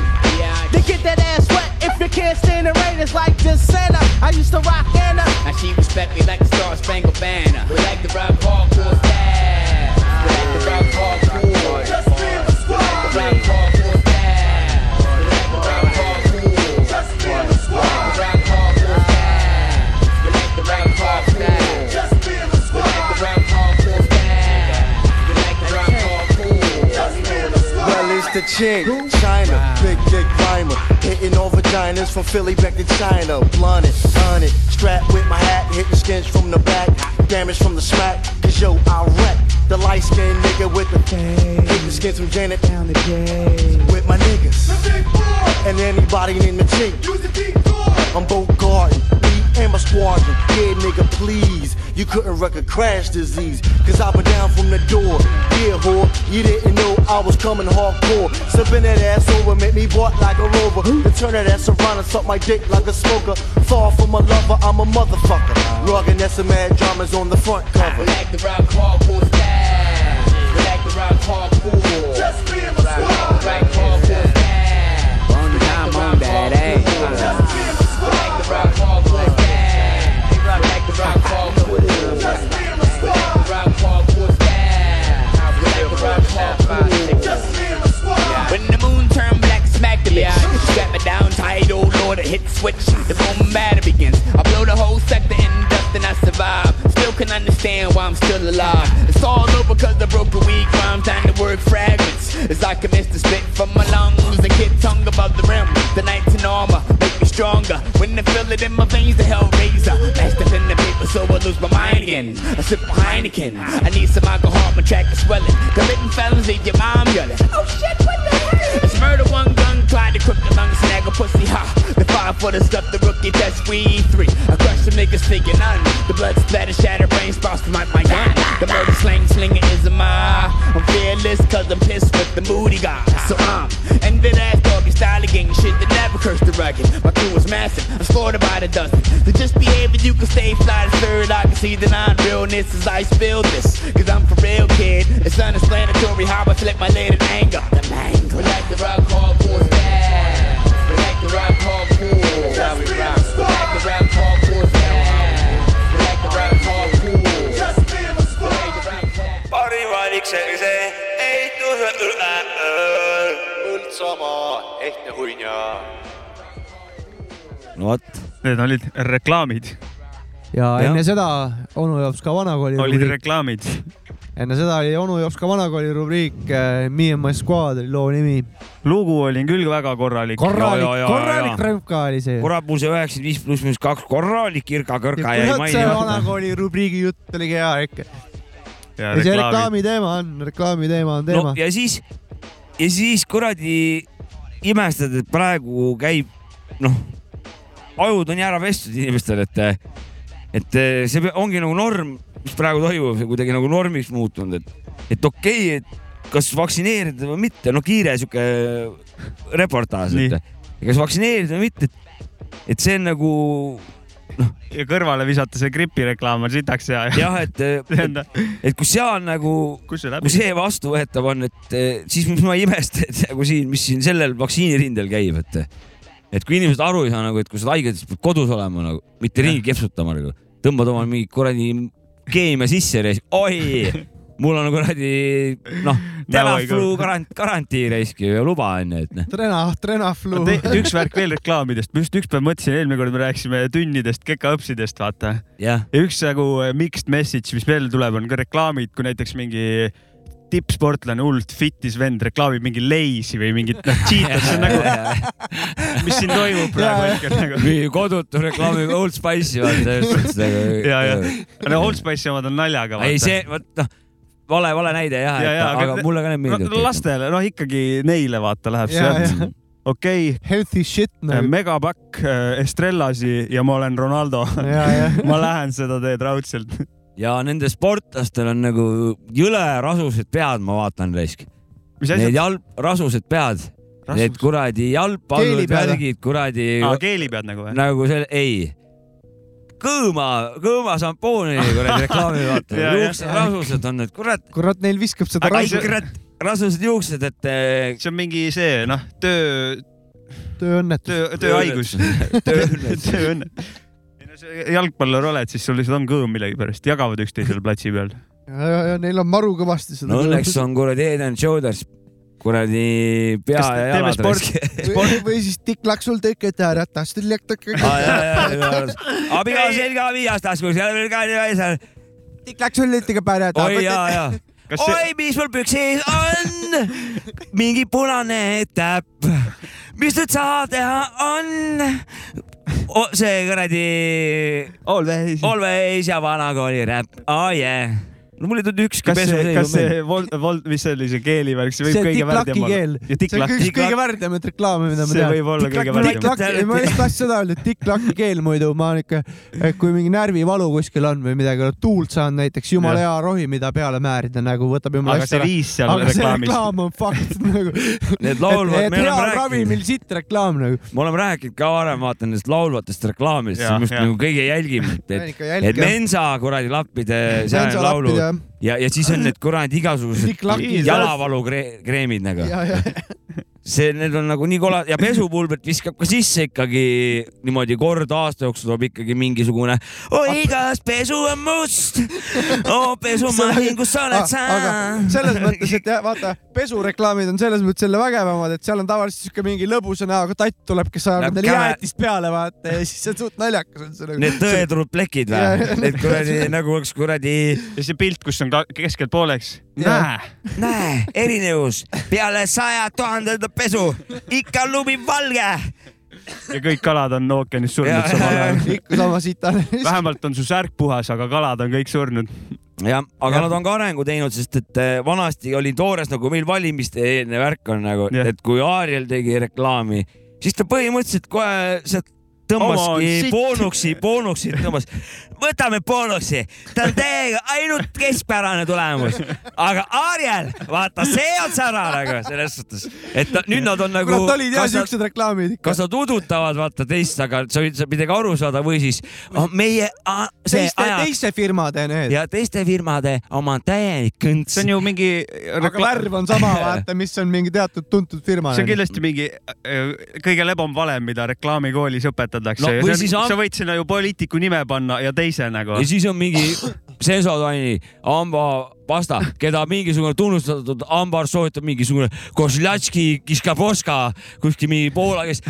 S11: They get that ass wet if you can't stand the rain. It's like just Santa. I used to rock Anna.
S12: Now she respect me like the Star Spangled Banner. We like to rock hardcore fast. We like to rock hardcore. Just be in the squad. We like to rock hardcore fast. We like to rock hardcore. Just be in the squad. We like to rock hardcore fast. We like to rock hardcore fast. Just be in the squad. We like to rock hardcore fast. We like to rock hardcore. Just be in the squad.
S13: Well, it's the chick, China, big dick rhymer, hitting all vaginas from Philly back to China. Blunted, hunted, strapped with my hat, hitting skins from the back, damage from the smack. Cause yo, I wreck the light skinned nigga with the hitting skins from Janet down the with my niggas. And anybody named the chick. I'm Bo Garden, me and my squadron. Yeah, nigga, please. You couldn't wreck a crash disease. Cause I been down from the door. Yeah, whore. You didn't know I was coming hardcore. Sipping that ass over, make me bark like a rover. Then turn that ass around and suck my dick like a smoker. Far from a lover, I'm a motherfucker. Rugged, that's some mad dramas on the front cover.
S12: We like to rock hardcore fast. We like to rock hardcore. Just be in the squad. Rock hardcore fast. On the time on that ass. Just be in the squad. We like to rock hardcore fast. We like to rock hardcore. Just be in the squad. We like to rock hardcore fast. We like to rock hardcore. Just be in the squad.
S14: When the moon turned black, smack the bitch. Strap me down tight, oh lord, I hit the switch. The boom matter begins. I blow the whole sector in dust and I survive. Still can understand why I'm still alive. It's all over cause I broke a weak rhyme. Time to work fragments. As I commence to spit from my lungs and get tongue above the rim. The knights in armor make me stronger. When I feel it in my veins, the hellraiser. Mashed up in the paper so I lose my mind again. I sip a Heineken. I need some alcohol, my track is swelling. Committing felons leave your mom yelling. Oh shit, what the hell? It's murder one gun, try to crip the lung, snag a pussy, ha. The five for the stuff, the rookie test, we three. I crush the niggas, figure none. The blood splatter, shatter, brain sprouts from my, my gun. The murder slang slinger is a my. I'm fearless, cause I'm pissed with the moody guy. So um, I'm envin' ass doggy style of gang shit that never cursed the rugged. My crew is massive, I'm slaughtered by the dozen. To just behaving, you can stay fly to third. I can see the non realness as I spill this. Cause I'm for real, kid. It's unexplanatory how I select my latent anger. The mango.
S12: We like to rock hardcore fast. We like to rock hardcore. Just be in the squad. We like to rock hardcore fast. We like to rock hardcore. Just be in the squad.
S1: parimanik seise ei tule üle öö . Põltsamaa , ehtne huinja .
S4: no vot .
S3: Need olid reklaamid .
S2: ja
S3: Jah.
S2: enne seda onu jops ka vanakooli
S3: olid
S2: rubriik .
S3: reklaamid .
S2: enne seda oli onu jops ka vanakooli rubriik eh, Me and my squad oli loo nimi .
S3: lugu oli küll väga korralik .
S2: korralik , korralik . rõõmka oli see .
S4: Ah. kurat , mul see üheksakümmend viis pluss miinus kaks korralik irka-kõrka jäi
S2: kurat , see
S4: mainimata .
S2: vanakooli rubriigi jutt oligi hea ikka . ja see reklaami teema on , reklaami teema on teema
S4: no . ja siis , ja siis kuradi imestad , et praegu käib , noh , ajud on ära pestud inimestel , et , et see pe- ongi nagu norm , mis praegu toimub , see kuidagi nagu normiks muutunud , et , et okei okay, , et kas vaktsineerida või mitte , no kiire sihuke reportaaž , et kas vaktsineerida või mitte , et see on nagu
S3: ja kõrvale visata see gripireklaam on sitaks hea . [laughs]
S4: jah , et , et, et kui seal nagu , kui see vastuvõetav on , et eh, siis mis ma ei imesta , et nagu siin , mis siin sellel vaktsiinirindel käib , et , et kui inimesed aru ei saa nagu , et kui sa oled haige , siis pead kodus olema nagu , mitte ringi kepsutama nagu , tõmbad oma mingi kuradi keemia sisse ja siis oi , mul on kuradi noh , tänaflu garant- , garantii raisk ju ja luba on ju , et noh .
S2: Trena , Trenaflu .
S3: üks värk veel reklaamidest , ma just ükspäev mõtlesin , eelmine kord me rääkisime tünnidest , kekaõpsidest , vaata .
S4: ja
S3: üks nagu mixed message , mis veel tuleb , on ka reklaamid , kui näiteks mingi tippsportlane hullult fitis vend reklaamib mingi leisi või mingit noh ,
S4: [laughs]
S3: cheetos , [laughs] see on nagu , mis siin toimub praegu hetkel nagu .
S4: mingi kodutu reklaami Old Spice'i vaata just ütles nagu .
S3: ja , ja , no Old Spice'i omad on naljaga .
S4: ei see , vot noh , vale , vale näide jah , aga, aga mulle ka need meeldivad .
S3: lastele , noh ikkagi neile vaata läheb see
S4: Ja,
S3: jah . okei okay. .
S2: Healthy shit
S3: nagu . megapakk äh, Estrellasi ja ma olen Ronaldo . [laughs] ma lähen seda teed raudselt .
S4: ja nende sportlastel on nagu jõle rasused pead , ma vaatan raisk .
S3: Mis asjad?
S4: Need jalg , rasused pead . Need kuradi jalgpallurid ,
S3: Geelipead või?
S4: värgid , kuradi .
S3: Aa, geelipead nagu või?
S4: nagu see , ei . kõõma , kõõma šampooni kuradi
S2: [laughs]
S4: reklaami vaata ,
S2: Jaa, jah.
S4: juuksed rasused on need , kurat .
S2: kurat , neil viskab seda rasu .
S4: rasused juuksed , et . eh, see
S3: on mingi see noh , töö ,
S2: tööõnnetus .
S3: töö , tööhaigus . tööõnne . jalgpallur oled , siis sul lihtsalt on kõõm millegipärast , jagavad üksteisel platsi peal .
S2: ja , ja , ja neil on maru kõvasti seda .
S4: [laughs] no õnneks on kuradi Head and Shoulders kuradi pea
S2: Kas
S4: ja
S2: teeme
S4: jalad
S2: sport-
S4: [laughs] raisk-
S2: või, või siis tikk-laksul tõkete ära , tahad seda lekka .
S4: abiga selga viias taskus , jalg ka nii väikse .
S2: tikk-laksul tõkete ära .
S4: oi ja ,
S2: [laughs]
S4: ja . oi , mis mul püksis on , mingi punane täpp . mis nüüd saab teha on ? see kuradi .
S3: Always .
S4: Always ja vanakooli räpp , oh yeah . no mul ei tulnud ükski
S3: kas
S4: pesu
S3: see , kas see Volt , Volt , mis see oli , see keelivärk , see võib
S2: see
S3: kõige
S2: tikk-laki
S3: värdjam
S2: keel
S3: olla ..
S2: see on üks kõige värdjamaid reklaame , mida ma
S3: See
S2: tean .
S3: võib olla kõige värdjam.
S2: ma just tahtsin seda öelda , et tikk-laki keel muidu ma ikka , kui mingi närvivalu kuskil on või midagi , oled tuult saanud näiteks , jumala
S3: Jah.
S2: hea rohi , mida peale määrida nagu võtab jumala
S3: Aga see viis seal
S2: aga see
S3: reklaamis.
S2: reklaam on fakt nagu .
S4: Need laulvad,
S2: et
S4: me oleme
S2: hea
S4: rääkinud.
S2: ravimil sitt reklaam nagu .
S4: me oleme rääkinud ka varem , vaata nendest laulvatest reklaamidest ,
S2: Jah,
S4: mis
S2: jah.
S4: nagu kõige jälgim ,
S2: Ja
S4: et
S2: ikka , jälgib,
S4: et
S2: jah.
S4: Mensa kuradi lappide
S2: Mensa
S4: seal laulu
S2: lappide, jah.
S4: ja , ja siis on need kuradi igasugused
S2: Tikk-lakid.
S4: jalavalukreenid nagu . see , need on nagu nii kola- ja pesupulbrit viskab ka sisse ikkagi niimoodi kord aasta jooksul tuleb ikkagi mingisugune . oi , igas pesu on must , oo pesumasin , kus sa oled sa .
S2: Ah, selles mõttes , et jah , vaata , pesureklaamid on selles mõttes jälle vägevamad , et seal on tavaliselt siuke mingi lõbusa näoga tatt tuleb , kes
S4: Läheb
S2: ajab endale
S4: käe-
S2: jäätist peale , vaata , ja siis see on suht naljakas on see nagu .
S4: Need tõetrud plekid või
S2: Jaa. ?
S4: Need kuradi nagu oleks kuradi .
S3: ja see pilt , kus on ka keskelt pooleks .
S4: näe , näe , erinevus peale saja tuhandenda pesu , ikka lumi valge .
S3: ja kõik kalad on ookeanis surnud samal
S2: [laughs]
S3: ajal .
S2: [laughs] ikka sama sitane .
S3: vähemalt on su särk puhas , aga kalad on kõik surnud .
S4: jah , aga nad on ka arengu teinud , sest et eh, vanasti oli toores nagu meil valimiste eelne värk on nagu , et kui Aariel tegi reklaami , siis ta põhimõtteliselt kohe sealt
S3: Oma on
S4: tõmbaski
S3: sitt.
S4: boonuksi , boonuksi tõmbas . võtame boonuksi , ta on teiega ainult keskpärane tulemus , aga Aariel , vaata , see on sarnane nagu selles suhtes , et ta, nüüd nad on nagu .
S2: kurat , olid jah siuksed reklaamid .
S4: kas nad udutavad vaata teist , aga sa võid sa midagi aru saada või siis ah, meie ah, see
S2: teiste ,
S4: aja
S2: teiste firmade need .
S4: ja teiste firmade oma täielik kõnts .
S3: see on ju mingi .
S2: aga värv on sama , vaata , mis on mingi teatud tuntud firma .
S3: see on kindlasti mingi äh, kõige lebam valem , mida reklaamikoolis õpetatakse
S4: No
S3: ja
S4: või
S3: see
S4: siis
S3: on,
S4: am-
S3: sa võid sinna ju poliitiku nime panna ja teise nagu .
S4: ja siis on mingi Sensodyne'i hambapasta , keda mingisugune tunnustatud hambaarst soovitab , mingisugune Kozlatski , Kiskaboska , kuskil mingi Poola , kes .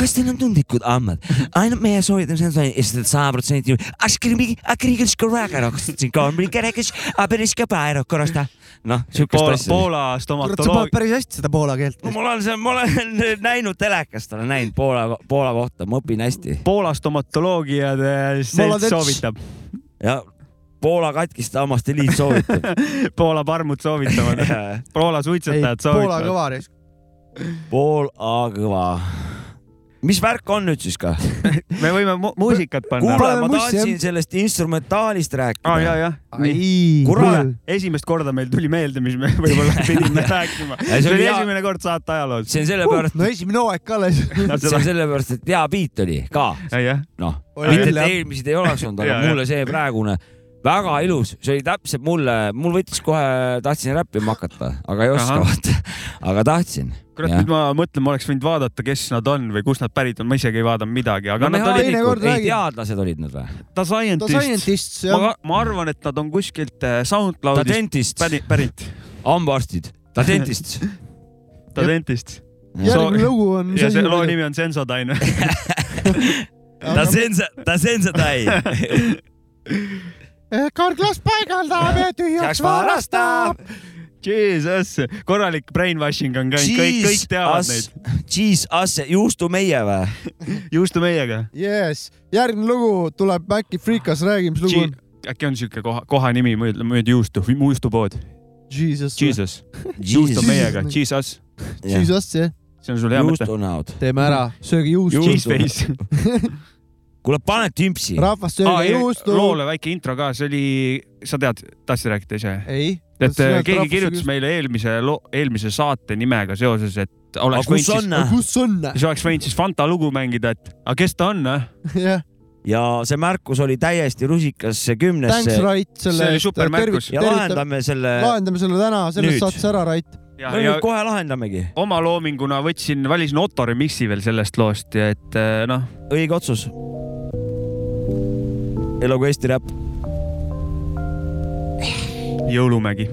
S4: kas teil on tundlikud hambad ? ainult meie soovitame Sensodyne'i ja siis sada protsenti . noh , siukest
S3: Poola ,
S4: asja .
S3: Poola
S2: kurat , sa
S3: stomatoloog
S2: paned , päris hästi seda poola keelt .
S4: no ma olen seal , ma olen [laughs] näinud telekast , olen näinud Poola , Poola kohta , ma õpin hästi .
S3: Poola stomatoloogia äh,
S4: Molodets.
S3: selts soovitab .
S4: ja Poola katkiste hammaste liit soovitab .
S3: Poola parmud soovitavad
S4: [laughs] Jaa. ,
S3: Poola suitsetajad
S2: Poola
S3: soovitavad .
S2: kõva risk .
S4: Poola kõva . mis värk on nüüd siis ka ?
S3: me võime mu muusikat panna .
S4: kuule , ma tahtsin sellest instrumentaalist rääkida
S3: ah, . ja , ja .
S4: kurat ,
S3: esimest korda meil tuli meelde , mis me [laughs]
S4: [laughs]
S3: võib-olla pidime rääkima .
S4: Ei, see
S3: see
S4: oli
S3: oli
S4: hea-
S3: esimene kord saate ajaloos .
S4: see on sellepärast ,
S2: no esimene hooaeg ka alles .
S4: see on sellepärast , et hea biit oli ka . noh ,
S2: Oli
S4: mitte et
S2: küll, jah.
S4: eelmised ei oleks olnud ,
S3: Jaa,
S4: aga
S3: jah.
S4: mulle see praegune väga ilus , see oli täpselt mulle , mul võttis kohe , tahtsin räppima hakata , aga ei oska
S3: Ahah.
S4: vaata , aga tahtsin .
S3: kurat , nüüd ma mõtlen , ma oleks võinud vaadata , kes nad on või kust nad pärit on , ma isegi ei vaadanud midagi , aga nad olid
S2: kord
S4: ei
S2: räägime.
S4: teadlased olid nad või ?
S3: The Scientist,
S2: The Scientists, jah.
S3: ma , ma arvan , et nad on kuskilt äh,
S4: ta
S3: SoundCloudist
S4: dentist ,
S3: päri- pärit .
S4: hambaarstid , ta
S3: [laughs]
S4: dentist .
S3: The Dentist .
S2: järgmine lugu on .
S3: ja see loo nimi on Sensodyne . [laughs]
S4: ta sensa , ta sensatai .
S2: karglas Eh, paigaldab
S3: [laughs]
S2: ja tühjaks varastab .
S3: Jesus , korralik brainwashing on käinud , [laughs] kõik , kõik teavad neid .
S4: Jesus , juustu meie või ?
S3: juustu meiega .
S2: Yes , järgmine lugu tuleb äkki Freekas , räägi , mis lugu on .
S3: äkki on siuke koha , koha nimi , ma ütlen , ma ütlen juustu , juustupood .
S2: Jesus .
S3: Jesus . juust on meiega , Jesus .
S2: Jesus , jah .
S3: see on sul hea mõte .
S4: juustunäod .
S2: teeme
S3: Mhm.
S2: ära , sööge juustu .
S3: Cheeseface .
S4: kuule , pane tümpsi .
S2: rahvas sööge juustu .
S3: loole väike intro ka , see oli , sa tead , tahtsid rääkida ise ?
S2: ei .
S3: äh, et äh, keegi kirjutas meile eelmise loo , eelmise saate nimega seoses , et et oleks
S2: Aga kus on? Aga kus on? [laughs]
S3: siis oleks võinud siis Fanta lugu mängida , et aga kes ta on , noh . [laughs]
S2: jah ,
S4: ja see märkus oli täiesti rusikas , see kümnes .
S2: thanks Rait selle eest .
S4: ja lahendame selle .
S2: lahendame selle täna ,
S4: Nüüd.
S2: sellest saates ära , Rait .
S4: no nüüd kohe lahendamegi .
S3: oma loominguna võtsin , valisin Otto remix'i veel sellest loost , et eh, noh .
S4: õige otsus . elagu Eesti Räpp .
S3: jõulumägi .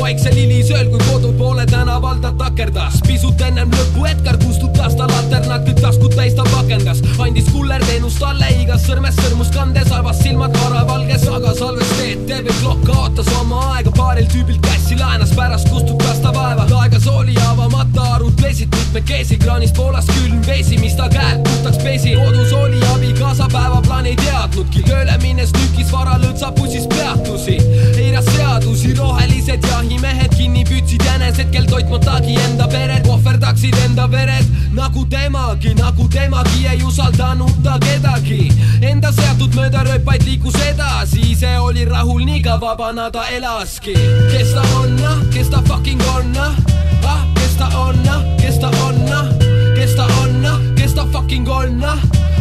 S15: vaiksel hilisööl , kui kodu poole tänaval ta takerdas . pisut ennem lõppu Edgar kustutas ta laternad , kõik taskud täis ta pakendas . andis kuller teenust talle , igas sõrmes sõrmus kandes , avas silmad varavalges , aga salves teed . TV Klokk kaotas oma aega , paaril tüübil käsi laenas , pärast kustutas ta vaeva . aegas oli avamata , arutlesid mitmekesi , kraanist voolas külm vesi , mis ta käed puhtaks pesi . kodus oli abikaasa , päevaplaani ei teadnudki . tööle minnes lükkis vara lõõtsapussis peatusi , eiras seadusi , rohelised jahimehed kinni püüdsid jänesed , kel toitmatagi enda pered , ohverdaksid enda vered nagu temagi , nagu temagi ei usaldanud ta kedagi . Enda seatud mööda rööpaid liikus edasi , ise oli rahul nii ka vabana ta elaski . kes ta on , ah , kes ta fucking on , ah , ah , kes ta on , ah , kes ta on , ah , kes ta on , ah , kes ta fucking on , ah ,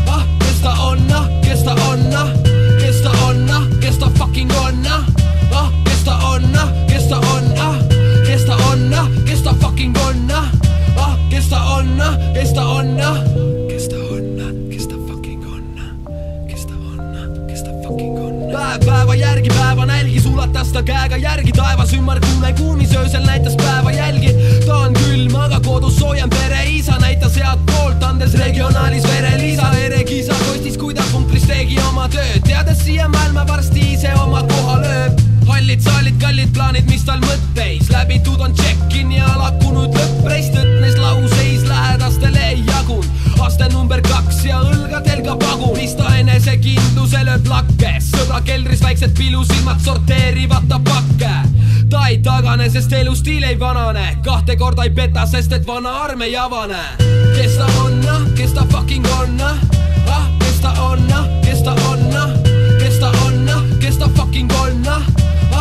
S15: ah , kes ta on , ah , kes ta on , ah , kes ta on , ah , kes ta fucking on , ah , ah , kes ta on , ah , kes ta on , ah , kes ta on , ah , kes ta fucking on , ah , ah , kes ta on , ah , kes ta on , ah , kes ta on , ah , kes ta fucking on , ah , kes ta on , ah , kes ta fucking on , ah . päev päeva järgi , päeva nälgis , ulatas ta käega järgi taevas ümmargune kuumis , öösel näitas päeva jälgi . ta on külm , aga kodus soojem pereisa näitas head poolt , andes regionaalis verelisa , erekisa kostis , kui ta punkris tegi oma tööd , teades siia maailma varsti ise oma koha lööb hallid saalid , kallid plaanid , mis tal mõtteis , läbitud on check-in ja lakkunud lõppreis , tõtnes lauseis lähedastele ei jagun . aste number kaks ja õlgadel ka pagun , mis ta enesekindluse lööb lakke , sõbra keldris väiksed pilusilmad sorteerivad ta pakke . ta ei tagane , sest elustiil ei vanane , kahte korda ei peta , sest et vana arm ei avane . kes ta on , ah , kes ta fucking on , ah , ah , kes ta on , ah , kes ta on , ah , kes ta on , ah , kes ta fucking on , ah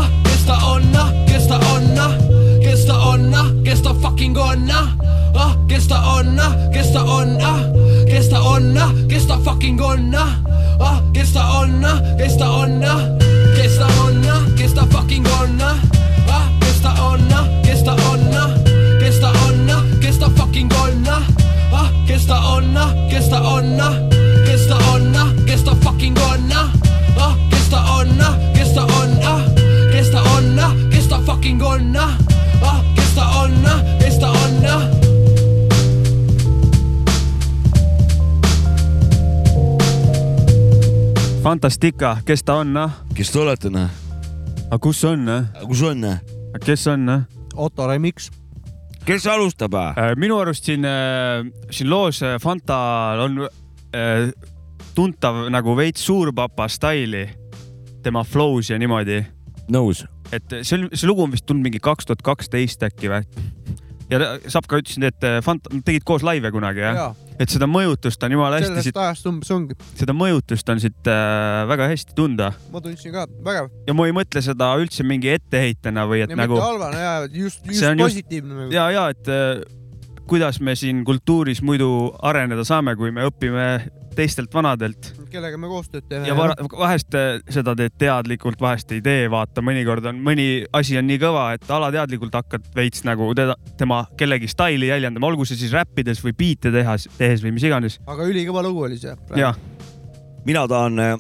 S15: ah , kes ta on , ah , kes ta on , ah , kes ta on , ah , kes ta fucking on , ah , ah , kes ta on , ah , kes ta on , ah , kes ta on , ah , kes ta fucking on , ah , ah , kes ta on , ah , kes ta on , ah , kes ta on , ah , kes ta fucking on , ah , ah , kes ta on , ah , kes ta on , ah , kes ta on , ah , kes ta fucking on , ah , ah , kes ta on , ah , kes ta on , ah , kes ta on , ah , kes ta fucking on , ah , ah , kes ta on , ah , kes ta on , ah kes ta on , ah , kes ta fucking on , ah , ah , kes ta on , ah , kes ta on , ah .
S3: Fantastika , kes ta on , noh ?
S4: kes te olete , noh ?
S3: aga kus on , noh ?
S4: kus on , noh ?
S3: kes on , noh ?
S2: Otto Remix .
S4: kes alustab ? äh?
S3: Äh, minu arust siin , siin loos äh, Fanta on äh, tuntav nagu veits suurpapa staili , tema flow's ja niimoodi .
S4: nõus .
S3: et see on , see lugu on vist tulnud mingi kaks tuhat kaksteist äkki või ? ja ta- Sapka ütles , et äh, Fanta , tegid koos laive kunagi jah ja.
S2: Jaa. ?
S3: et seda mõjutust on jumala hästi
S2: sellest
S3: siit ,
S2: ajast umbes ongi ,
S3: seda mõjutust on siit äh, väga hästi tunda
S2: ma tundsin ka , vägev .
S3: ja ma ei mõtle seda üldse mingi etteheitena või et
S2: ja
S3: nagu
S2: mitte . halvane ja just , just
S3: See on just-
S2: positiivne nagu .
S3: ja , ja et äh, kuidas me siin kultuuris muidu areneda saame , kui me õpime teistelt vanadelt
S2: kellega me koostööd teeme .
S3: ja vara- vahest äh, seda teed teadlikult , vahest ei tee , vaata , mõnikord on mõni asi on nii kõva , et alateadlikult hakkad veits nagu teda , tema kellegi staili jäljendama , olgu see siis räppides või biite tehas , tehes või mis iganes .
S2: aga ülikõva lugu oli see .
S3: jah ,
S4: mina tahan äh,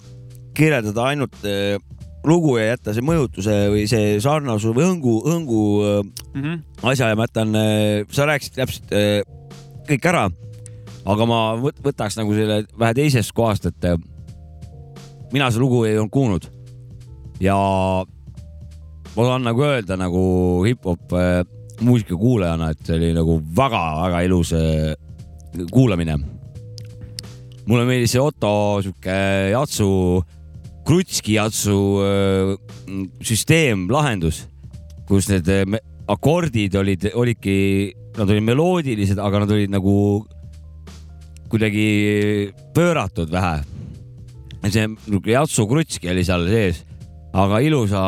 S4: kirjeldada ainult äh, lugu ja jätta see mõjutuse või see sarnasus või hõngu , hõngu mm
S3: Mhm.
S4: -hmm. asja ja ma jätan , sa rääkisid täpselt äh, kõik ära , aga ma võt- võtaks nagu selle vähe teisest kohast , et äh, mina seda lugu ei olnud kuulnud ja ma tahan nagu öelda nagu hip-hop äh, muusika kuulajana , et see oli nagu väga-väga ilus äh, kuulamine . mulle meeldis see Otto sihuke jatsu , krutski jatsu äh, süsteem , lahendus , kus need äh, me- akordid olid , olidki nad olid meloodilised , aga nad olid nagu kuidagi pööratud vähe . see niisugune jatsukruttski oli seal sees , aga ilusa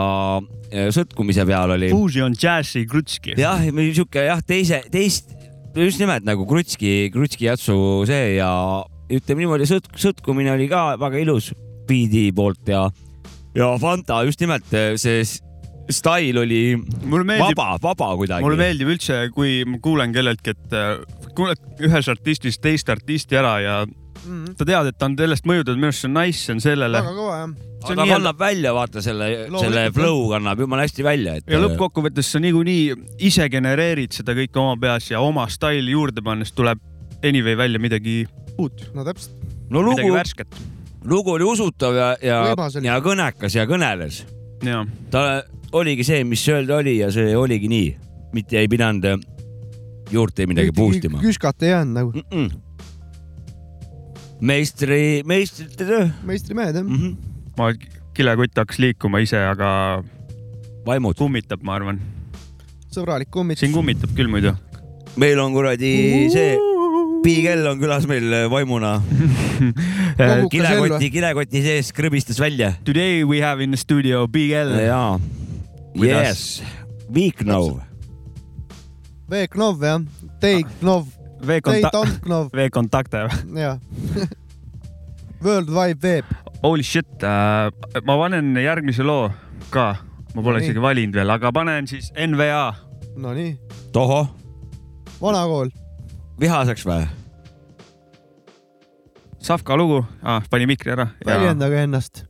S4: eh, sõtkumise peal oli .
S3: Fusion Jazzi krutski .
S4: jah , niisugune jah , teise , teist , just nimelt nagu krutski , krutski jatsu see ja ütleme niimoodi , sõt- , sõtkumine oli ka väga ilus biidi poolt ja , ja Fanta just nimelt eh, see s- stail oli
S3: meeldib-
S4: vaba , vaba kuidagi .
S3: mulle meeldib üldse , kui ma kuulen kelleltki , et äh, kuuled ühes artistis teist artisti ära ja sa tead , et ta on sellest mõjutatud , minu arust see on nice , see on sellele .
S2: väga kõva jah .
S4: aga ta kannab välja , vaata selle , selle
S3: Loomulikult.
S4: flow kannab jumala hästi välja , et eh,
S3: ja . lõppkokkuvõttes sa niikuinii ise genereerid seda kõike oma peas ja oma staili juurde pannes tuleb anyway välja midagi uut .
S2: no täpselt .
S4: no lugu
S3: midagi , värsket .
S4: lugu oli usutav ja , ja
S3: Võimas , oli.
S4: ja kõnekas ja kõneles .
S3: Jaa.
S4: ta oligi see , mis öelda oli ja see oligi nii , mitte ei pidanud äh, juurde midagi boost ima .
S2: küskat ei jäänud
S3: Mm.
S2: nagu .
S4: meistri , meistrite töö .
S2: meistrimehed
S3: Mm.
S2: jah .
S16: Mhm.
S3: ma , kilekott hakkas liikuma ise , aga .
S4: vaimud .
S3: kummitab , ma arvan .
S2: sõbralik kummitus .
S3: siin kummitab küll muidu .
S4: meil on kuradi see , Piigel on külas meil äh, vaimuna . kilekoti , kilekoti sees krõbistas välja .
S3: Äh, Today we have in the studio Big L .
S4: jaa . Yes , Viiknov .
S2: V-Knov jah ,
S3: Ah.
S2: T-Knov , T-Tomknov ,
S3: V-kontakte .
S2: jah . [laughs] World Wide Web ,
S3: Holy shit äh, , ma panen järgmise loo ka , ma pole
S2: Nii.
S3: isegi valinud veel , aga panen siis NVA .
S2: Nonii.
S4: tohoh ,
S2: vanakool .
S4: vihaseks või ?
S3: Savka lugu ah, , pani mikri ära .
S2: väljendage ennast .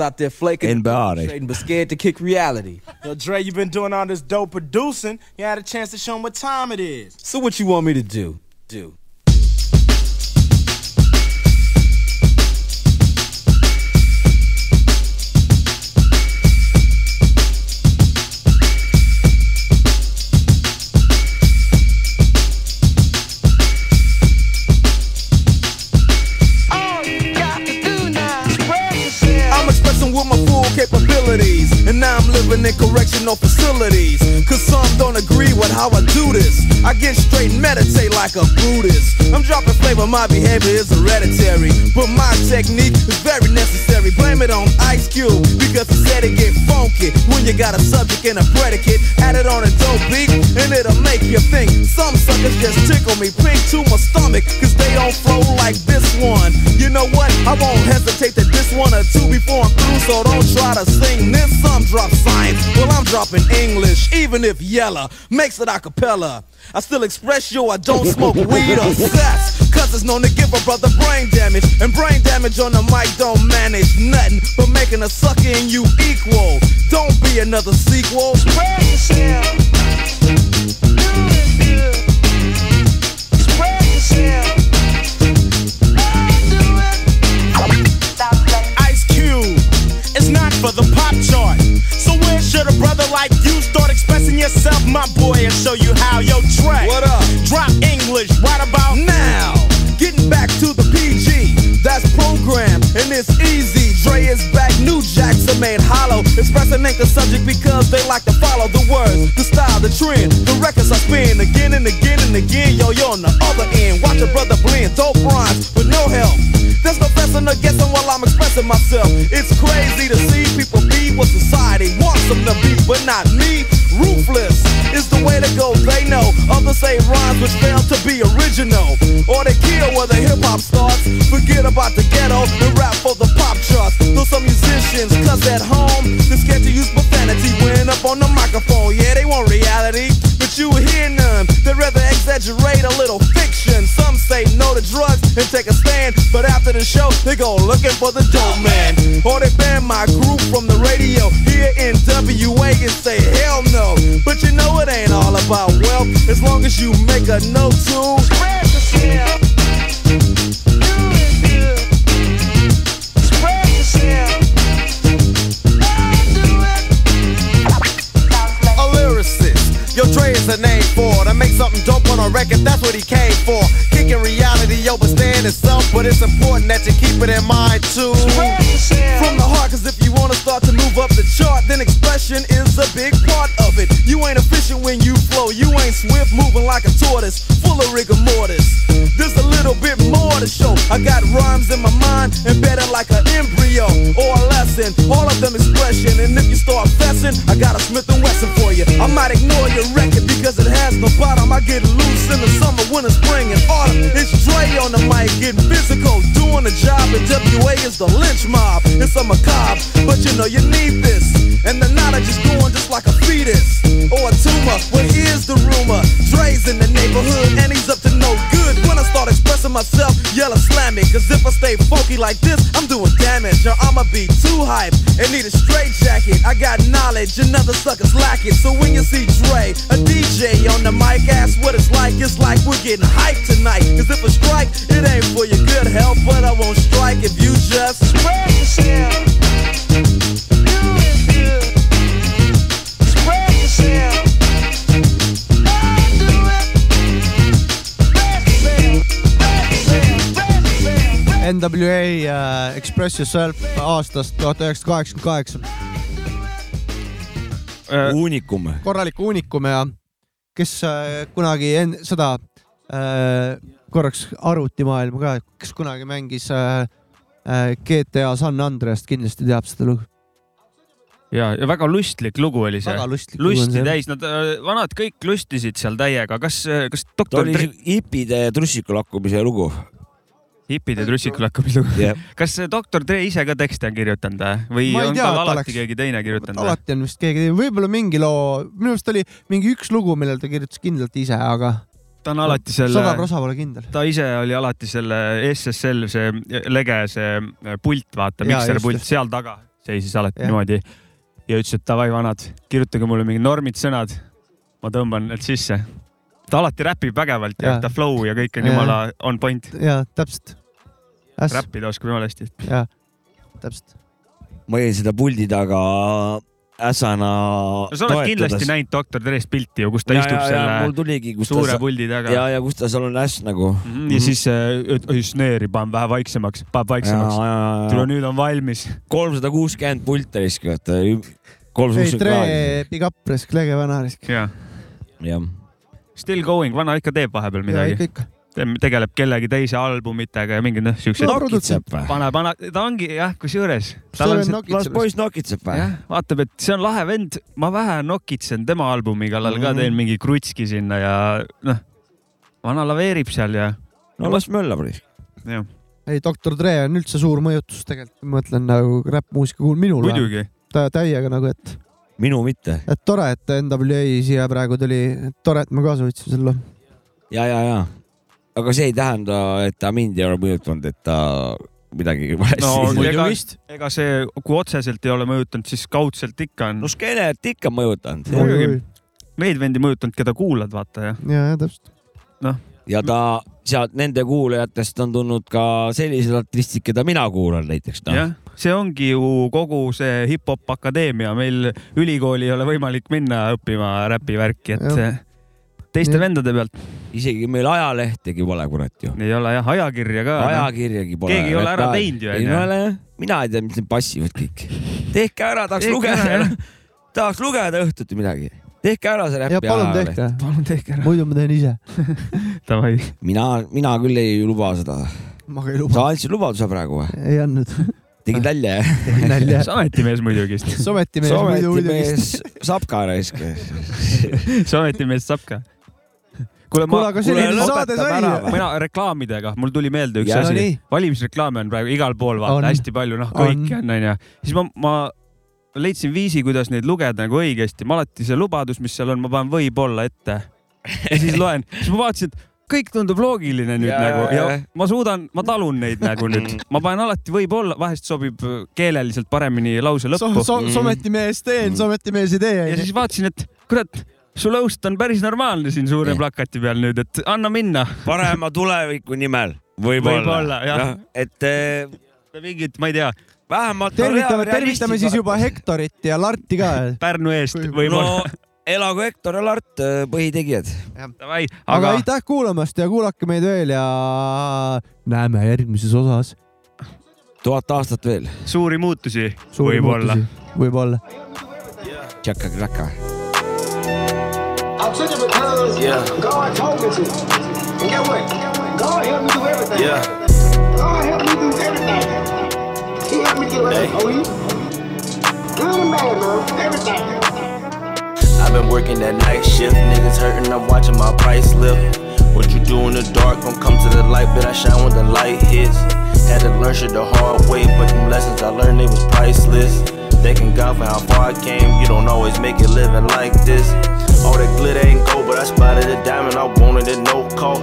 S17: out there flaking
S4: NBA
S17: and trading, but scared to kick reality.
S16: Yo, Dre, you been doing all this dope producing. You had a chance to show 'em what time it is.
S17: So what you want me to do? Do.
S16: I'm expressing with my full capabilities, and now I'm living in correctional facilities. Cause some don't agree with how I do this. I get straight and meditate like a Buddhist. I'm dropping flavor, my behavior is hereditary. But my technique is very necessary. Blame it on Ice Cube, because he said it get funky when you got a subject and a predicate. Add it on a dope beat, and it'll make you think. Some suckers just tickle me pink to my stomach, cause they don't flow like this one. You know what? I won't hesitate to diss one or two before I'm through, so don't try to sing this. Some drop science, well, I'm dropping English, even if Yella uh, makes it a cappella. I still express yo, I don't smoke weed or sex. Cause it's known to give a brother brain damage. And brain damage on the mic don't manage nothing but making a sucker in you equal. Don't be another sequel. Spread yourself.
S6: Ice Cube, it's not for the pop chart. So where should a brother like you start expressing yourself, my boy, and show you how yo track? What up? Drop English right about
S16: now. Getting back to the PG, that's programmed and it's easy. Dre is back, new jacks are made hollow. Expressing ain't the subject because they like to follow the words, the style, the trend. The records I spin again and again and again. Yo, you're on the other end. Watch a brother blend, dope rhymes with no help. That's professing or guessing while I'm expressing myself. It's crazy to see people be what society wants them to be, but not me. Ruthless is the way to go, they know. Others say rhymes which fail to be original. Or they kill where the hip hop starts. Forget about the ghetto and rap for the pop charts. Though some musicians cuss at home, they're scared to use profanity when up on the microphone. Yeah, they want reality, but you hear none. They rather exaggerate a little fiction. Some say no to drugs and take a stand, but after the show, they go looking for the dope man. Or they ban my group from the radio here in WA and say hell no. But you know it ain't all about wealth as long as you make a note to spread yourself. A lyricist, yo
S18: Dre is the name for it. I make something dope on a record, that's what he came for. Kicking reality overstand itself, but it's important that you keep it in mind too.
S16: From the heart, cause if you wanna start to move up the chart, then expression is a big part of it. You ain't efficient when you flow, you ain't swift, moving like a tortoise, full of rigor mortis. There's a little bit more to show. I got rhymes in my mind, embedded like an embryo or a lesson. All of them expression, and if you start fessing, I got a Smith and Wesson for you. I might ignore your record because it has no bottom. I get loose in the summer, winter, spring, and autumn. It's Dre on the mic, getting physical, doing the job. And WA is the lynch mob. It's a macabre, but you know you need this. And the knowledge is going just like a fetus or a tumor. What is the rumor? Dre's in the neighborhood and he's up to no good. When I start expressing myself, yell and slam it. Cause if I stay funky like this, I'm doing damage. Or I'ma be too hype and need a straight jacket. I got knowledge, another sucker's lack it. So when you see Dre, a DJ on the mic, ask what it's like. It's like we're getting hyped tonight. Cause if I strike, it ain't for your good health. But I won't strike if you just spread yourself.
S18: Spread yourself.
S2: NWA äh, Express Yourself aastast tuhat üheksasada kaheksakümmend kaheksa .
S4: uunikum .
S2: korralik uunikum ja kes äh, kunagi en- seda äh, korraks arvutimaailma ka , kes kunagi mängis äh, äh, GTA San Andreast , kindlasti teab seda lugu .
S3: ja , ja väga lustlik lugu oli see .
S2: Väga lustlik lugu on
S3: lusti
S2: see.
S3: täis , nad , vanad kõik lustisid seal täiega , kas , kas
S4: ta
S3: doktor
S4: oli
S3: Dre ,
S4: siuke hipide trussiku lakkumise lugu .
S3: hipide trussikul hakkab lugu
S4: Jah.
S3: kas see doktor Dre ise ka tekste on kirjutanud äh? või
S2: Ma ei
S3: on
S2: tea, et
S3: tal alati
S2: oleks.
S3: keegi teine kirjutanud äh? või ?
S2: alati on vist keegi , võib-olla mingi loo , minu arust oli mingi üks lugu , millele ta kirjutas kindlalt ise , aga
S3: ta on alati selle .
S2: sada prosa pole kindel .
S3: ta ise oli alati selle SSL , see äh, lege , see äh, pult , vaata ,
S2: Jaa,
S3: mikser
S2: just,
S3: pult
S2: just.
S3: seal taga seisis alati
S2: Jah.
S3: ja. niimoodi ja ütles , et davai , vanad , kirjutage mulle mingid normid , sõnad . ma tõmban need sisse . ta alati räpib vägevalt ja,
S2: Jaa.
S3: ja ta flow ja kõik on
S2: Jaa.
S3: jumala on point .
S2: ja täpselt .
S3: räppida oskab jumala hästi .
S2: ja täpselt .
S4: ma jäin seda puldi taga äsana .
S3: no sa oled kindlasti näinud doktor Dre's pilti ju , kus ta
S4: Ja,
S3: ja,
S4: ja,
S3: istub ja,
S4: ja, mul
S3: selle
S4: tuligi, kus ta
S3: suure Mm,
S4: sa-
S3: puldi taga .
S4: ja , ja kus ta seal on äss nagu .
S3: ja siis äh, , oi snööri , paneb vähe vaiksemaks , paneb vaiksemaks . tule nüüd on valmis .
S4: kolmsada kuuskümmend pulti risk , vaata . kolmsada
S2: ei , Tre
S4: kuuskümmend ,
S2: E, Big Up , Resk , Lege Vanarisk .
S3: jah .
S4: jah .
S3: Still going , vana ikka teeb vahepeal midagi . tegeleb kellegi teise albumitega ja mingid noh , siuksed .
S4: No, Nokitseb või?
S3: pane , pane , ta ongi jah , kusjuures .
S4: Steven nokitseb Las poiss nokitseb või?
S3: jah , vaatab , et see on lahe vend , ma vähe nokitsen tema albumi kallal ka ,
S4: Mhm.
S3: teen mingi krutski sinna ja noh , vana laveerib seal ja .
S4: no las möllab risk .
S3: jah ,
S2: ei , doktor Dre on üldse suur mõjutus tegelikult , ma mõtlen nagu räppmuusika puhul minule .
S3: Muidugi. .
S2: ta täiega nagu , et ,
S4: minu mitte .
S2: et tore , et NWA siia praegu tuli , tore , et ma kaasa võtsin selle .
S4: ja , ja , ja . aga see ei tähenda , et ta mind ei ole mõjutanud , et ta midagi
S3: no ega
S4: valesti . ,
S3: ega see , kui otseselt ei ole mõjutanud , siis kaudselt ikka on .
S4: no skeenet ikka on mõjutanud .
S3: muidugi , neid vendi mõjutanud , keda kuulad , vaata ja .
S2: ja , ja täpselt .
S3: noh ,
S4: ja ta sealt nende kuulajatest on tulnud ka sellised artistid , keda mina kuulan näiteks noh. no. .
S3: jah , see ongi ju kogu see hip-hop akadeemia , meil ülikooli ei ole võimalik minna õppima räpivärki , et
S4: Jah.
S3: teiste vendade pealt .
S4: isegi meil ajalehtegi pole , kurat ju .
S3: ei ole jah , ajakirja ka .
S4: ajakirjagi pole .
S3: noh. keegi ei ole ära teinud ju ,
S4: ei ole . jah . mina ei tea , mis need passivad kõik . tehke ära , tahaks
S3: Tehke ära,
S4: lugeda
S3: jah. ,
S4: [laughs] tahaks lugeda õhtuti midagi . tehke ära see räpp .
S2: ja palun tehke .
S3: palun tehke
S2: ära . muidu ma teen ise .
S3: [laughs] Davai .
S4: mina , mina küll ei luba seda .
S2: ma ka ei luba .
S4: sa andsid lubaduse praegu või ?
S2: ei
S3: [laughs]
S2: andnud .
S4: tegid nalja , jah ?
S2: Tegin nalja. Sa
S3: ametimees muidugi .
S2: Sa ametimees muidu- muidugi.
S4: ametimees Sapka raisk .
S3: [laughs] sa ametimees Sapka . kuule ,
S4: Kuule, aga selline saade sai ju.
S3: mina reklaamidega , mul tuli meelde üks
S4: Ja
S3: asi
S4: nii. .
S3: valimisreklaame on praegu igal pool ,
S4: On.
S3: vaata hästi palju , noh , kõiki on , onju . siis ma , ma leidsin viisi , kuidas neid lugeda nagu õigesti . ma alati see lubadus , mis seal on , ma panen võib-olla ette . ja siis loen , siis ma vaatasin , et kõik tundub loogiline nüüd
S4: Ja,
S3: nagu
S4: ja, ja.
S3: ja ma suudan , ma talun neid nagu nüüd . ma panen alati võib-olla , vahest sobib keeleliselt paremini lause lõppu .
S2: sometimees teen , sometimees ei tee .
S3: ja siis vaatasin , et kurat , su lõust on päris normaalne siin suure plakati peal nüüd , et anna minna .
S4: parema tuleviku nimel , võib-olla .
S3: võib-olla jah
S4: Noh, . et
S3: mingit , ma ei tea .
S4: vähemalt .
S2: tervitame , tervitame siis juba Hektorit ja Larti ka .
S3: Pärnu eest
S4: no
S3: võib-olla .
S4: elagu Hektor ja Lart , põhitegijad .
S3: Davai ,
S2: aga, aga aitäh kuulamast ja kuulake meid veel ja näeme järgmises osas .
S4: tuhat aastat veel .
S3: suuri muutusi
S2: Suuri
S3: võib-olla .
S2: muutusi. võib-olla .
S4: tšakka-kraka .
S19: I took it because God told me to. And get what? God helped me do everything.
S20: Yeah.
S19: God helped me do everything. He helped me get like hey. OE. Good and bad, man. Everything.
S20: I've been working that night shift, niggas hurting, I'm watching my price lift. What you do in the dark gon' come to the light, but I shine when the light hits. Had to learn shit the hard way, but them lessons I learned they was priceless. Thanking God for how far I came, you don't always make it living like this. All that glitter ain't gold, but I spotted a diamond, I wanted at no cost.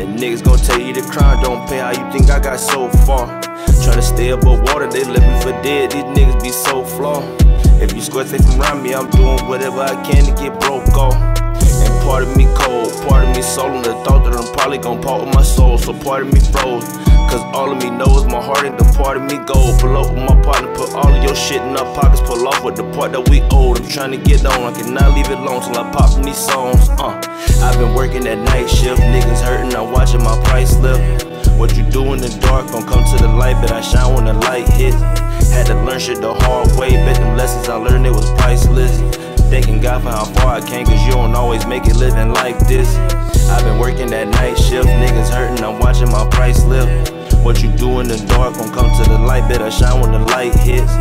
S20: And niggas gon' tell you the crime don't pay, how you think I got so far? Tryna stay above water, they living for dead, these niggas be so flawed. If you square safe around me, I'm doing whatever I can to get broke off. And part of me cold, part of me soul, the thought that I'm probably gon' part with my soul. So part of me froze. Cause all of me knows my heart ain't the part of me gold. Pull up with my partner, put all of your shit in our pockets, pull off with the part that we owed. I'm tryna get on, I cannot leave it alone till I pop in these songs. Uh, I've been working that night shift, niggas hurting, I'm watching my price lift. What you do in the dark gon' come to the light, but I shine when the light hits. Had to learn shit the hard way, bet them lessons I learned it was priceless. Thanking God for how far I came, cause you don't always make it living like this. I've been working that night shift, niggas hurting, I'm watching my price lift. What you do in the dark gon' come to the light, bet I shine when the light hits.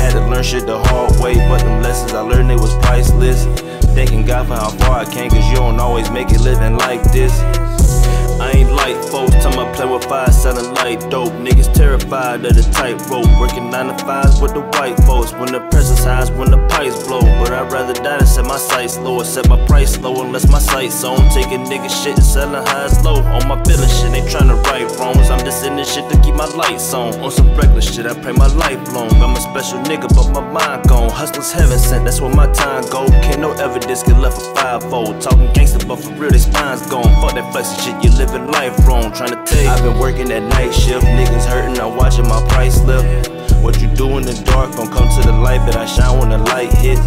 S20: Had to learn shit the hard way, but them lessons I learned it was priceless. Thanking God for how far I came, cause you don't always make it living like this. I ain't like folks, time I play with fire, selling light dope. Niggas terrified of the tightrope, working nine to fives with the white folks. When the pressure's high, when the pipes blow. But I'd rather die than set my sights low or set my price low unless my sights on. Taking nigga shit and selling highs low. On my feeling shit, ain't trying to right wrongs. I'm just in this shit to keep my lights on. On some reckless shit, I pray my life long. I'm a special nigga, but my mind gone. Hustlers heaven sent, that's where my time go. Can't no evidence get left for fivefold. Talking gangster, but for real, they spines gone. Fuck that flexing shit, you living life wrong. Tryna to take. I've been working that night shift, niggas hurting, I'm watching my price lift. What you do in the dark gon' come to the light, but I shine when the light hits.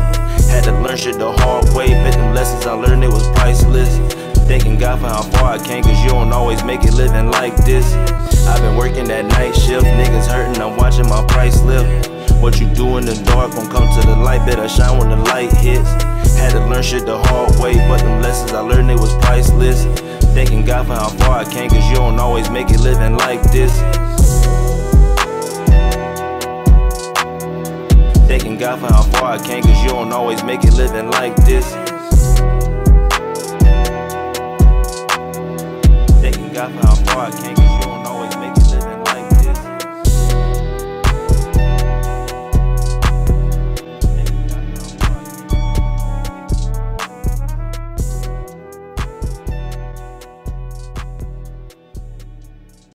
S20: Had to learn shit the hard way, but the lessons I learned it was priceless. Thanking God for how far I came, cause you don't always make it living like this. I've been working that night shift, niggas hurting, I'm watching my price lift. What you do in the dark gon' come to the light, better shine when the light hits. Had to learn shit the hard way, but them lessons I learned it was priceless. Thanking God for how far I came, cause you don't always make it living like this. Thanking God for how far I came, cause you don't always make it living like this. Thanking God for how far I came.